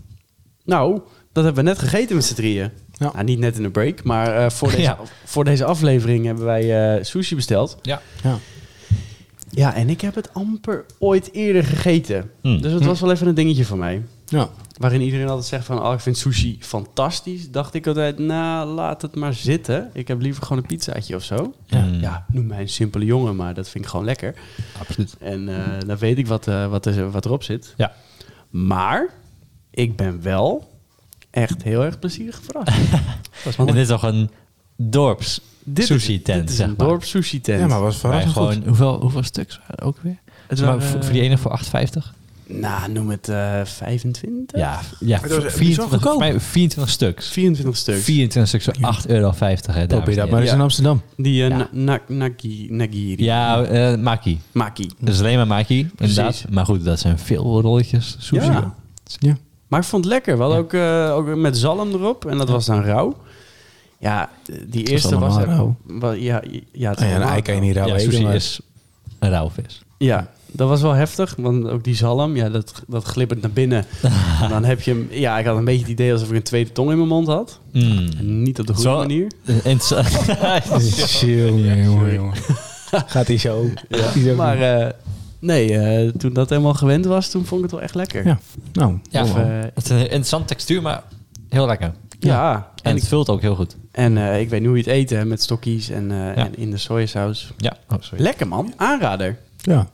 Speaker 1: Nou, dat hebben we net gegeten met z'n drieën.
Speaker 2: Ja.
Speaker 1: Nou, niet net in de break, maar eh, voor, deze,
Speaker 3: Ja.
Speaker 1: voor deze aflevering hebben wij eh, sushi besteld.
Speaker 3: Ja.
Speaker 2: Ja.
Speaker 1: Ja, en ik heb het amper ooit eerder gegeten.
Speaker 3: Hmm.
Speaker 1: Dus het was wel even een dingetje voor mij.
Speaker 2: Ja.
Speaker 1: Waarin iedereen altijd zegt van, oh, ik vind sushi fantastisch. Dacht ik altijd, nou, laat het maar zitten. Ik heb liever gewoon een pizzaatje of zo.
Speaker 2: Ja.
Speaker 3: Mm.
Speaker 1: Ja, noem mij een simpele jongen, maar dat vind ik gewoon lekker.
Speaker 3: absoluut.
Speaker 1: En eh, dan weet ik wat, eh, wat, er, wat erop zit.
Speaker 3: Ja.
Speaker 1: Maar ik ben wel echt heel erg plezierig verrast.
Speaker 3: En dit is toch een dorps
Speaker 1: Dit is-
Speaker 3: sushi tent,
Speaker 1: Dit is
Speaker 3: zeg
Speaker 1: een
Speaker 3: maar.
Speaker 1: dorp sushi tent.
Speaker 2: ja, maar was
Speaker 3: Waar je
Speaker 2: verrassend
Speaker 3: gewoon,
Speaker 2: goed.
Speaker 3: hoeveel, hoeveel stuks waren er ook weer?
Speaker 1: Het
Speaker 3: maar
Speaker 1: waren,
Speaker 3: voor,
Speaker 1: eh,
Speaker 3: voor die ene voor 8,50?
Speaker 1: Nou, noem het eh 25?
Speaker 3: Ja, ja
Speaker 2: Het was bizar
Speaker 3: 24,
Speaker 2: goedkoop.
Speaker 3: voor mij 24 stuks.
Speaker 1: 24 stuks.
Speaker 3: 24 stuks voor 8,50 euro. Hè,
Speaker 2: Probeer dat
Speaker 3: dames en
Speaker 2: maar
Speaker 3: heren.
Speaker 2: eens
Speaker 1: Ja.
Speaker 2: in Amsterdam.
Speaker 1: Die eh,
Speaker 3: Ja.
Speaker 1: na- na- nagi- nagiri.
Speaker 3: Ja, eh maki.
Speaker 1: Maki.
Speaker 3: Dat is alleen maar maki, inderdaad. Maar goed, dat zijn veel rolletjes sushi.
Speaker 1: Ja.
Speaker 2: Ja.
Speaker 1: Maar ik vond het lekker. We hadden ook, eh, ook met zalm erop. En dat was dan rauw. Ja, eh, die eerste was...
Speaker 2: allemaal
Speaker 1: echt-
Speaker 2: rauw.
Speaker 1: wa- ja, ja, ja, nou, het
Speaker 2: Ah ja, een
Speaker 1: allemaal
Speaker 2: ei kan je
Speaker 1: rauw.
Speaker 2: niet rauw
Speaker 3: Ja,
Speaker 2: eten,
Speaker 3: sushi
Speaker 2: maar-
Speaker 3: is een rauwe vis.
Speaker 1: Ja, dat was wel heftig. Want ook die zalm, ja, dat, dat glippert naar binnen. En dan heb je hem... Ja, ik had een beetje het idee alsof ik een tweede tong in mijn mond had.
Speaker 3: Mm.
Speaker 1: En niet op de goede
Speaker 3: Zo-
Speaker 1: manier.
Speaker 3: En het is-
Speaker 2: Chill, nee, jongen, jongen. Gaat hij zo? Gaat die zo?
Speaker 1: Maar eh, nee, eh, toen dat helemaal gewend was, toen vond ik het wel echt lekker.
Speaker 2: Ja. nou,
Speaker 3: ja,
Speaker 1: Of, eh,
Speaker 3: het is een interessante textuur, maar heel lekker.
Speaker 1: ja.
Speaker 3: En
Speaker 1: En, ik,
Speaker 3: het vult ook heel goed.
Speaker 1: en eh, ik weet nu hoe je het eet, hè, met stokkies en, eh, en in de sojasaus.
Speaker 3: Ja, oh, sorry.
Speaker 1: Lekker man, aanrader.
Speaker 2: ja.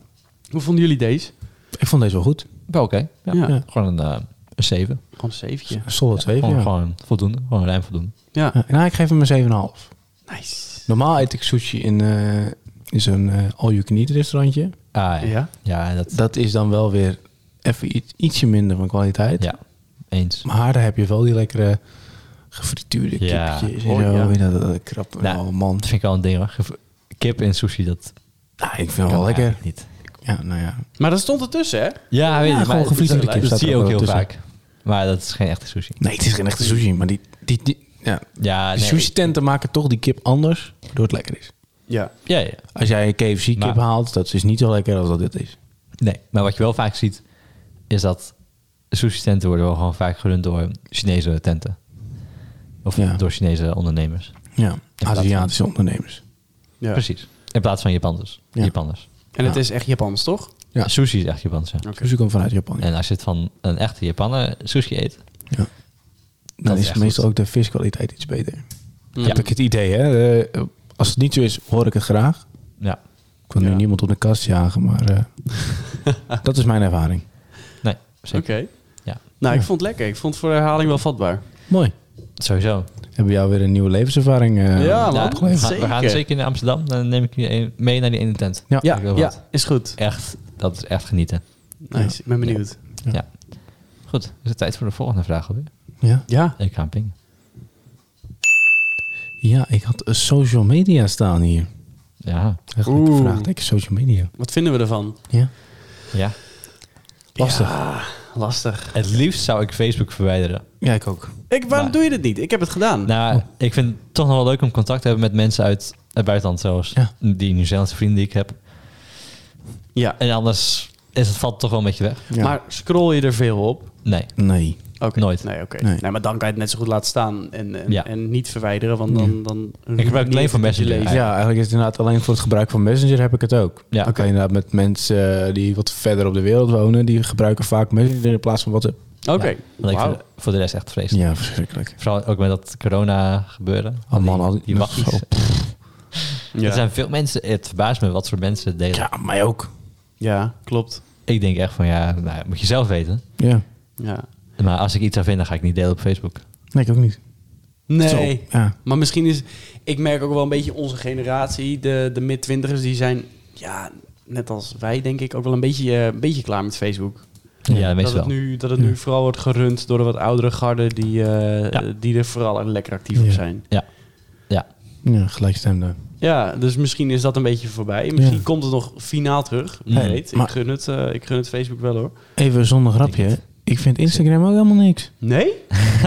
Speaker 1: Hoe vonden jullie deze?
Speaker 2: Ik vond deze wel goed.
Speaker 3: Wel oké. Ja.
Speaker 1: Ja.
Speaker 2: Ja.
Speaker 3: Gewoon een, eh een 7.
Speaker 1: Gewoon een zeventje.
Speaker 2: Een solid 7,
Speaker 3: Gewoon,
Speaker 2: ja.
Speaker 3: gewoon voldoende. Gewoon ruim voldoende.
Speaker 1: Ja,
Speaker 2: Ja, nou, ik geef hem een 7,5.
Speaker 1: nice.
Speaker 2: Normaal eet ik sushi in, eh, in zo'n eh, all-you-can-eat restaurantje.
Speaker 3: Ah, ja.
Speaker 1: Ja?
Speaker 3: Ja, dat,
Speaker 2: Dat is dan wel weer even iets, ietsje minder van kwaliteit.
Speaker 3: ja eens.
Speaker 2: Maar daar heb je wel die lekkere gefrituurde
Speaker 3: Ja.
Speaker 2: kipjes.
Speaker 1: Oh,
Speaker 2: en zo.
Speaker 1: ja.
Speaker 2: Weet je, dat, dat krap.
Speaker 3: Nou.
Speaker 2: Oh, man.
Speaker 3: Dat vind ik wel een ding hoor. Gev- Kip en sushi, dat
Speaker 2: Nou, ik vind het
Speaker 3: kan
Speaker 2: wel lekker.
Speaker 3: eigenlijk niet.
Speaker 2: Ja, nou ja.
Speaker 1: Maar dat stond ertussen, hè?
Speaker 3: Ja, weet je,
Speaker 2: gewoon
Speaker 3: maar het-
Speaker 2: gefrituurde
Speaker 3: dat-
Speaker 2: kip
Speaker 3: Dat
Speaker 2: staat
Speaker 3: zie je
Speaker 2: er
Speaker 3: ook
Speaker 2: ook
Speaker 3: heel
Speaker 2: tussen.
Speaker 3: vaak. Maar dat is geen echte sushi.
Speaker 2: Nee, het is geen echte sushi, maar die, die, die, ja.
Speaker 3: Ja,
Speaker 2: die
Speaker 3: Ah, nee,
Speaker 2: sushi tenten maken toch die kip anders, waardoor het lekker is.
Speaker 1: Ja.
Speaker 3: Ja, ja.
Speaker 2: Als jij een KFC kip
Speaker 3: Maar-
Speaker 2: haalt, dat is niet zo lekker als dat dit is.
Speaker 3: Nee, maar wat je wel vaak ziet, is dat sushi tenten worden wel gewoon vaak gerund door Chinese tenten. Of
Speaker 2: Ja.
Speaker 3: door Chinese ondernemers.
Speaker 2: Ja,
Speaker 3: van-
Speaker 2: Aziatische ondernemers.
Speaker 1: ja.
Speaker 3: Precies. In plaats van Japanners.
Speaker 2: Ja.
Speaker 3: Japanners.
Speaker 1: En het
Speaker 2: Ja.
Speaker 1: is echt Japans, toch?
Speaker 2: Ja.
Speaker 3: Sushi is echt Japans, ja.
Speaker 1: Oké.
Speaker 2: Sushi komt Dus vanuit Japan. Ja.
Speaker 3: En als je het van een echte Japaner sushi eet...
Speaker 2: Ja.
Speaker 3: dat
Speaker 2: Dan is
Speaker 3: echt
Speaker 2: meestal
Speaker 3: goed.
Speaker 2: ook de viskwaliteit iets beter.
Speaker 1: Ja.
Speaker 2: Heb ik het idee, hè? Eh, als het niet zo is, hoor ik het graag.
Speaker 3: Ja.
Speaker 2: Ik wil
Speaker 1: Ja.
Speaker 2: nu niemand op de kast jagen, maar eh, dat is mijn ervaring.
Speaker 3: Nee,
Speaker 1: Oké.
Speaker 3: zeker. Ja.
Speaker 1: Nou, ik vond het lekker. Ik vond het voor de herhaling wel vatbaar.
Speaker 2: Mooi.
Speaker 3: Sowieso.
Speaker 2: Hebben we jou weer een nieuwe levenservaring eh,
Speaker 1: Ja, man.
Speaker 3: we,
Speaker 2: opgeleverd?
Speaker 3: gaan, Nou, we gaan
Speaker 1: Zeker.
Speaker 3: zeker naar Amsterdam. Dan neem ik je een- mee naar die ene tent.
Speaker 2: Ja.
Speaker 1: Ja,
Speaker 3: Ik wil
Speaker 1: ja,
Speaker 3: wat.
Speaker 1: is goed.
Speaker 3: Echt, dat is echt genieten.
Speaker 1: Nice, ik ben benieuwd.
Speaker 3: Ja. Goed, is het tijd voor de volgende vraag alweer?
Speaker 2: Ja.
Speaker 1: Ja.
Speaker 3: Ik ga hem pingen.
Speaker 2: ja, ik had eh, social media staan hier.
Speaker 3: Ja.
Speaker 2: Echt
Speaker 1: Oeh.
Speaker 2: een vraagteken, social media.
Speaker 1: Wat vinden we ervan?
Speaker 2: Ja.
Speaker 3: Ja.
Speaker 2: Lastig. Ja,
Speaker 1: Ja, lastig.
Speaker 3: Het liefst zou ik Facebook verwijderen.
Speaker 2: ik ook.
Speaker 1: Ik, waarom
Speaker 3: Maar-
Speaker 1: doe je dit niet? Ik heb het gedaan.
Speaker 3: Nou, ik vind het toch nog wel leuk om contact te hebben met mensen uit het buitenland, zoals
Speaker 2: Ja.
Speaker 3: die Nieuw-Zeelandse vrienden die ik heb.
Speaker 1: ja.
Speaker 3: En anders is het valt toch wel een beetje weg.
Speaker 2: Ja.
Speaker 1: Maar scroll je er veel op?
Speaker 3: Nee.
Speaker 2: Nee.
Speaker 1: Oké.
Speaker 3: Nooit.
Speaker 1: Nee, oké.
Speaker 2: Nee.
Speaker 1: Nee, maar dan kan je het net zo goed laten staan en, en,
Speaker 3: Ja.
Speaker 1: en niet verwijderen, want dan... dan
Speaker 3: gebruik het alleen voor Messenger.
Speaker 1: Ja.
Speaker 2: Ja, eigenlijk is het inderdaad alleen voor het gebruik van Messenger heb ik het ook.
Speaker 3: Ja.
Speaker 2: Oké, inderdaad met mensen eh, die wat verder op de wereld wonen, die gebruiken vaak Messenger in plaats van WhatsApp.
Speaker 1: Oké.
Speaker 3: Ja, want ik
Speaker 1: Wauw.
Speaker 3: vind het voor de rest echt vreselijk.
Speaker 2: Ja, verschrikkelijk.
Speaker 3: Vooral ook met dat corona gebeuren.
Speaker 2: Oh man, al die-
Speaker 3: die wachties.
Speaker 2: zo,
Speaker 1: Ja.
Speaker 3: Er zijn veel mensen, het verbaast me wat voor mensen het delen.
Speaker 2: Ja, mij ook.
Speaker 1: Ja, klopt.
Speaker 3: Ik denk echt van ja, nou, moet je zelf weten.
Speaker 2: Ja.
Speaker 1: Ja.
Speaker 3: Maar als ik iets aan vind, dan ga ik niet delen op Facebook.
Speaker 2: Nee, ik ook niet.
Speaker 1: Nee.
Speaker 2: Zo, ja.
Speaker 1: Maar misschien is... Ik merk ook wel een beetje onze generatie, de, de mid-twintigers, die zijn... Ja, net als wij denk ik ook wel een beetje, eh, een beetje klaar met Facebook.
Speaker 3: Ja,
Speaker 1: dat,
Speaker 3: meestal
Speaker 1: het
Speaker 3: wel.
Speaker 1: nu, dat het nu vooral wordt gerund door de wat oudere garden die, eh,
Speaker 3: Ja.
Speaker 1: die er vooral lekker actief op
Speaker 2: Ja.
Speaker 1: zijn.
Speaker 3: Ja.
Speaker 2: Ja, gelijkstemde.
Speaker 1: Ja, dus misschien is dat een beetje voorbij. Misschien
Speaker 2: Ja. komt
Speaker 1: komt het nog finaal terug.
Speaker 3: Wie Nee,
Speaker 1: weet,
Speaker 2: weet. maar-
Speaker 1: ik,
Speaker 2: Ik
Speaker 1: gun het, eh, ik gun het Facebook wel hoor.
Speaker 2: Even zonder grapje. Ik vind Instagram ook helemaal niks.
Speaker 1: Nee?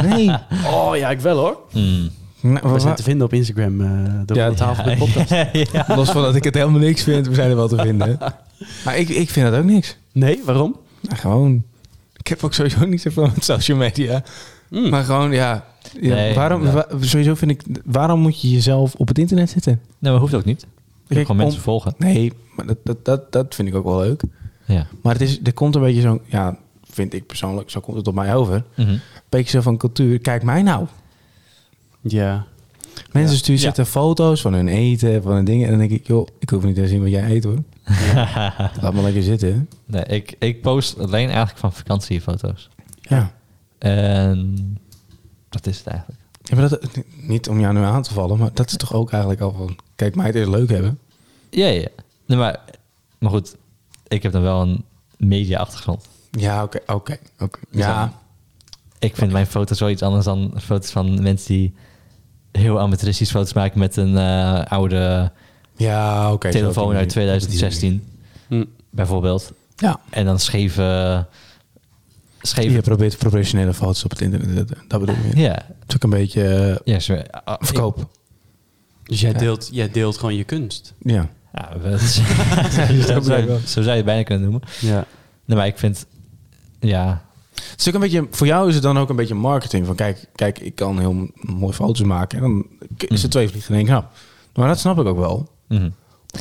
Speaker 2: Nee.
Speaker 1: Oh ja, ik wel hoor.
Speaker 3: Mm.
Speaker 2: Nou,
Speaker 1: We
Speaker 2: wa-
Speaker 1: zijn te vinden op Instagram eh door
Speaker 2: Ja,
Speaker 1: de tafel van de podcast.
Speaker 3: ja.
Speaker 2: Los van dat ik het helemaal niks vind, we zijn er wel te vinden. Maar ik, ik vind dat ook niks.
Speaker 1: Nee, waarom?
Speaker 2: Nou, gewoon. Ik heb ook sowieso niet zoveel met social media.
Speaker 1: Mm.
Speaker 2: Maar gewoon, ja. Hmm. ja
Speaker 3: Nee,
Speaker 2: waarom,
Speaker 3: ja.
Speaker 2: wa- sowieso vind ik, waarom moet je jezelf op het internet zetten?
Speaker 3: Nee, maar hoeft ook niet. Je
Speaker 2: Kijk,
Speaker 3: kan gewoon mensen
Speaker 2: om-
Speaker 3: volgen.
Speaker 2: Nee, maar dat, dat, dat, dat vind ik ook wel leuk.
Speaker 3: Ja.
Speaker 2: Maar het is, er komt een beetje zo'n, ja, vind ik persoonlijk, zo komt het op mij over. Een
Speaker 3: Mhm.
Speaker 2: beetje zo van cultuur, kijk mij nou.
Speaker 1: Ja.
Speaker 2: Mensen
Speaker 1: Ja.
Speaker 2: sturen, zetten foto's van hun eten, van hun dingen. En dan denk ik, joh, ik hoef niet te zien wat jij eet hoor. Laat maar lekker zitten.
Speaker 3: Nee, ik, ik post alleen eigenlijk van vakantiefoto's.
Speaker 2: Ja.
Speaker 3: En dat is het eigenlijk.
Speaker 2: Ja, maar dat, niet om jou nu aan te vallen, maar dat is toch ook eigenlijk al van... Kijk, mij het is leuk hebben.
Speaker 3: Ja, ja. ja. Nee, maar, maar goed, ik heb dan wel een media-achtergrond.
Speaker 2: Ja, oké, oké, oké. Ja,
Speaker 3: Ik vind mijn foto's wel iets anders dan foto's van mensen die heel amateuristisch foto's maken met een eh, oude
Speaker 2: ja oké. zo op die
Speaker 3: telefoon
Speaker 2: manier.
Speaker 3: uit 2016,
Speaker 1: Hm.
Speaker 3: bijvoorbeeld.
Speaker 2: Ja,
Speaker 3: En dan scheve...
Speaker 2: je
Speaker 3: scheve
Speaker 2: probeert professionele foto's op het internet. Dat, dat bedoel je. Het
Speaker 3: ja,
Speaker 2: is ook een beetje eh,
Speaker 3: ja, zo- ah, ik-
Speaker 2: verkoop.
Speaker 1: Dus jij
Speaker 2: Ja.
Speaker 1: deelt, jij deelt gewoon je kunst.
Speaker 2: Ja.
Speaker 3: Ja, we- zo, zou je, zo zou je het bijna kunnen noemen.
Speaker 1: Ja.
Speaker 3: Nee, maar ik vind... Ja,
Speaker 2: Het is ook een beetje, voor jou is het dan ook een beetje marketing. Van kijk, kijk ik kan heel m- mooi foto's maken. En dan is
Speaker 3: Mm.
Speaker 2: er twee vliegen in één knap. Maar dat snap ik ook wel.
Speaker 3: mhm.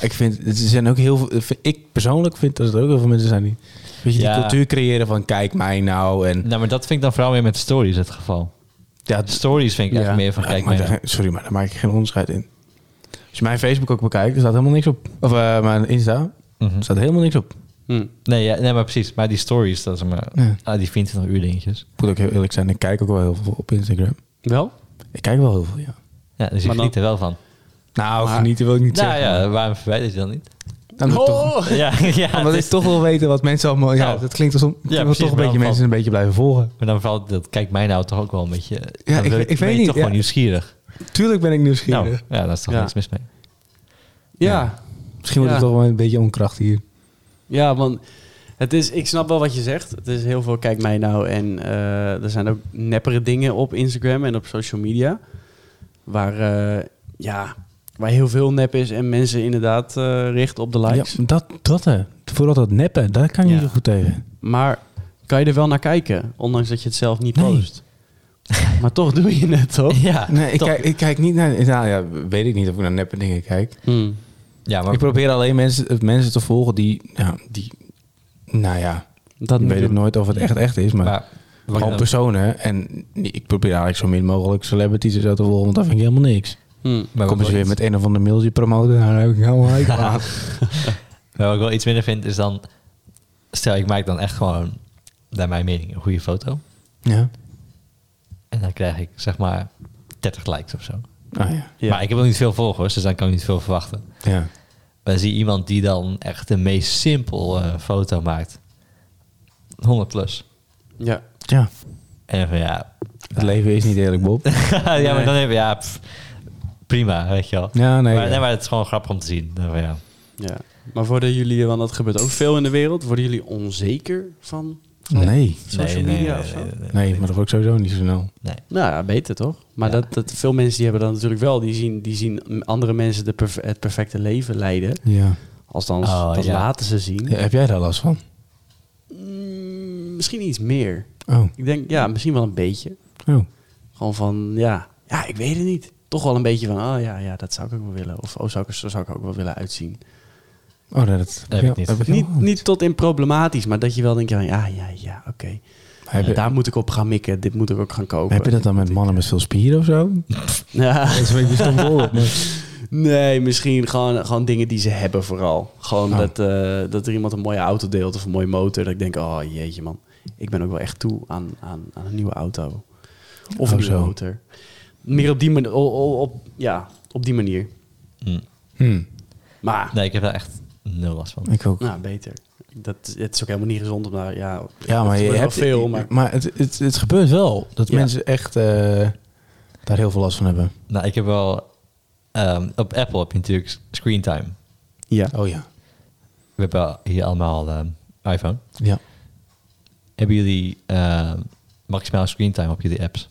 Speaker 2: Ik vind, er zijn ook heel veel, ik persoonlijk vind dat er ook heel veel mensen zijn die, weet je,
Speaker 3: Ja.
Speaker 2: die cultuur creëren van kijk mij nou. En
Speaker 3: Nou, maar dat vind ik dan vooral meer met stories het geval.
Speaker 2: ja,
Speaker 3: Stories vind ik echt meer van,
Speaker 2: Ja,
Speaker 3: kijk, nou.
Speaker 2: maar
Speaker 3: maar,
Speaker 2: daar- sorry, maar daar maak ik geen onderscheid in. Als je mijn Facebook ook bekijkt, er staat helemaal niks op. Of eh, mijn Insta,
Speaker 3: Mhm.
Speaker 2: er staat helemaal niks op.
Speaker 1: Hm.
Speaker 3: nee, ja, nee, maar precies. Maar die stories, dat is maar
Speaker 2: Ja.
Speaker 3: ah, die 24 uur dingetjes.
Speaker 2: Ik moet ook heel eerlijk zijn, ik kijk ook wel heel veel op Instagram.
Speaker 1: Wel?
Speaker 2: Ik kijk wel heel veel, ja.
Speaker 3: Ja, dus je
Speaker 1: Maar dan-
Speaker 3: geniet er wel van.
Speaker 2: Nou, genieten wil ik niet
Speaker 3: Nou
Speaker 2: zeggen. Oh.
Speaker 3: ja, waarom verwijder je dan niet?
Speaker 2: Dan moet ik toch,
Speaker 3: Ja, ja
Speaker 2: omdat
Speaker 3: het
Speaker 2: ik
Speaker 3: is,
Speaker 2: toch wil weten wat mensen allemaal... Ja,
Speaker 3: Nou.
Speaker 2: dat klinkt alsof... ik wil
Speaker 3: precies,
Speaker 2: toch een
Speaker 3: wel
Speaker 2: beetje
Speaker 3: van-
Speaker 2: mensen een beetje blijven volgen.
Speaker 3: maar dan valt dat, kijk mij nou toch ook wel een beetje...
Speaker 2: Ja,
Speaker 3: dan
Speaker 2: ik-
Speaker 3: wil
Speaker 2: ik
Speaker 3: ben
Speaker 2: weet
Speaker 3: je
Speaker 2: niet,
Speaker 3: toch
Speaker 2: ja.
Speaker 3: gewoon nieuwsgierig.
Speaker 2: Tuurlijk ben ik
Speaker 3: Nou,
Speaker 2: nieuwsgierig.
Speaker 3: ja, daar is toch
Speaker 1: Ja.
Speaker 3: niks mis mee.
Speaker 1: Ja.
Speaker 2: Misschien wordt
Speaker 1: Ja.
Speaker 2: het toch wel een beetje onkracht hier.
Speaker 1: Ja, want het is, ik snap wel wat je zegt. Het is heel veel kijk mij nou en eh, er zijn ook neppere dingen op Instagram en op social media. Waar, eh, ja, waar heel veel nep is en mensen inderdaad eh richten op de likes.
Speaker 2: Ja, dat, dat hè. Vooral dat neppen, daar kan je
Speaker 1: Ja.
Speaker 2: niet zo goed tegen.
Speaker 1: Maar kan je er wel naar kijken, ondanks dat je het zelf niet
Speaker 2: Nee.
Speaker 1: post. maar toch doe je het, toch?
Speaker 3: Ja,
Speaker 2: Oh. Nee, ik
Speaker 3: toch.
Speaker 2: kijk, ik kijk niet naar... Nou ja, weet ik niet of ik naar neppe dingen kijk.
Speaker 1: Hmm.
Speaker 3: ja, maar
Speaker 2: Ik probeer alleen mensen, mensen te volgen die, ja, die, nou ja,
Speaker 1: Dat
Speaker 2: ik weet
Speaker 1: ik
Speaker 2: ik nooit of het echt echt is, maar,
Speaker 3: maar-
Speaker 2: gewoon personen. En ik probeer eigenlijk zo min mogelijk celebrities en zo te volgen, want dat vind ik helemaal niks.
Speaker 1: Hmm.
Speaker 3: maar
Speaker 2: Komen
Speaker 3: wat
Speaker 2: ze
Speaker 3: ik-
Speaker 2: weer met een of ander mailtje promoten, nou, daar heb ik helemaal hekel aan.
Speaker 3: Maar wat ik wel iets minder vind is dan... Stel, ik maak dan echt gewoon, naar mijn mening, een goede foto.
Speaker 2: Ja,
Speaker 3: En dan krijg ik zeg maar 30 likes of zo.
Speaker 2: ah ja,
Speaker 1: Ja.
Speaker 3: Maar ik heb ook niet veel volgers, dus dan kan ik niet veel verwachten.
Speaker 2: ja.
Speaker 3: Maar dan zie je iemand die dan echt de meest simpel eh, foto maakt. 100 plus.
Speaker 1: Ja.
Speaker 2: Ja,
Speaker 3: En dan van ja...
Speaker 2: het leven is niet eerlijk, Bob.
Speaker 3: ja,
Speaker 1: Nee.
Speaker 3: maar dan even ja... pff, prima, weet je wel.
Speaker 2: Ja, nee.
Speaker 3: maar,
Speaker 2: ja.
Speaker 3: nee, maar het is gewoon grappig om te zien. Dan van, ja.
Speaker 1: ja. Maar worden jullie, want dat gebeurt ook veel in de wereld, worden jullie onzeker van
Speaker 2: Nee,
Speaker 1: social
Speaker 3: Nee, nee,
Speaker 1: media
Speaker 3: nee,
Speaker 1: of zo?
Speaker 3: nee, nee,
Speaker 2: nee, maar dat word ik sowieso niet zo snel.
Speaker 1: Nou ja, beter toch? Maar
Speaker 3: Ja.
Speaker 1: dat, dat veel mensen die hebben dat natuurlijk wel. Die zien, die zien andere mensen de perf- het perfecte leven leiden.
Speaker 2: Ja.
Speaker 1: Althans,
Speaker 3: Oh,
Speaker 1: dat
Speaker 3: ja.
Speaker 1: laten ze zien.
Speaker 2: Ja, Heb jij daar last van?
Speaker 1: Mm, misschien iets meer.
Speaker 2: Oh,
Speaker 1: Ik denk, ja, misschien wel een beetje.
Speaker 2: oh.
Speaker 1: Gewoon van, ja, ja, ik weet het niet. Toch wel een beetje van, oh ja, ja dat zou ik ook wel willen. Of oh, zou ik, zo zou ik ook wel willen uitzien.
Speaker 2: Oh, nee, dat
Speaker 3: heb ik niet.
Speaker 1: Niet,
Speaker 2: helemaal
Speaker 1: niet tot in problematisch, maar dat je wel denkt, ja, ja, ja, ja oké.
Speaker 2: Heb je,
Speaker 1: Daar moet ik op gaan mikken. Dit moet ik ook gaan kopen.
Speaker 2: heb je dat dan met mannen met veel spieren of zo?
Speaker 1: Ja.
Speaker 2: Dat is een beetje stom voorbeeld, maar-
Speaker 1: Nee, misschien gewoon, gewoon dingen die ze hebben vooral. Gewoon
Speaker 2: Oh.
Speaker 1: dat, eh, dat er iemand een mooie auto deelt of een mooie motor. Dat ik denk, oh jeetje man, ik ben ook wel echt toe aan, aan, aan een nieuwe auto. Of een
Speaker 2: Oh,
Speaker 1: nieuwe
Speaker 2: zo.
Speaker 1: motor. meer op die, man- o- o- op, ja, op die manier.
Speaker 3: Hm.
Speaker 2: Hm.
Speaker 1: Maar,
Speaker 3: Nee, ik heb daar echt nul last van.
Speaker 2: Ik ook.
Speaker 1: nou, beter. Dat, het is ook helemaal niet gezond om daar, ja...
Speaker 2: Ja, maar
Speaker 1: het
Speaker 2: je
Speaker 1: wordt
Speaker 2: hebt
Speaker 1: wel veel, maar...
Speaker 2: het, het, het gebeurt wel dat
Speaker 1: Ja.
Speaker 2: mensen echt eh, daar heel veel last van hebben.
Speaker 3: Nou, ik heb wel... ehm, op Apple heb je natuurlijk s- screen time.
Speaker 1: Ja.
Speaker 2: Oh ja.
Speaker 3: We hebben hier allemaal ehm, iPhone.
Speaker 2: Ja.
Speaker 3: Hebben jullie ehm maximaal screen time op jullie apps?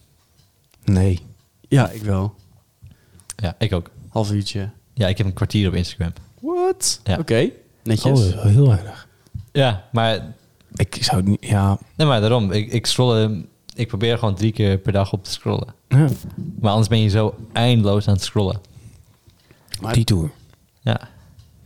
Speaker 2: Nee.
Speaker 1: ja, ik wel.
Speaker 3: Ja, ik ook.
Speaker 1: Half uurtje.
Speaker 3: Ja, ik heb een kwartier op Instagram.
Speaker 1: What?
Speaker 3: Ja.
Speaker 1: Oké, netjes.
Speaker 2: Oh, heel weinig.
Speaker 3: Ja, maar,
Speaker 2: Ik zou het niet... Ja.
Speaker 3: nee, maar daarom. Ik, ik scroll... ehm, Ik probeer gewoon drie keer per dag op te scrollen.
Speaker 2: ja.
Speaker 3: Maar anders ben je zo eindeloos aan het scrollen.
Speaker 1: Maar-
Speaker 2: Die tour.
Speaker 3: Ja.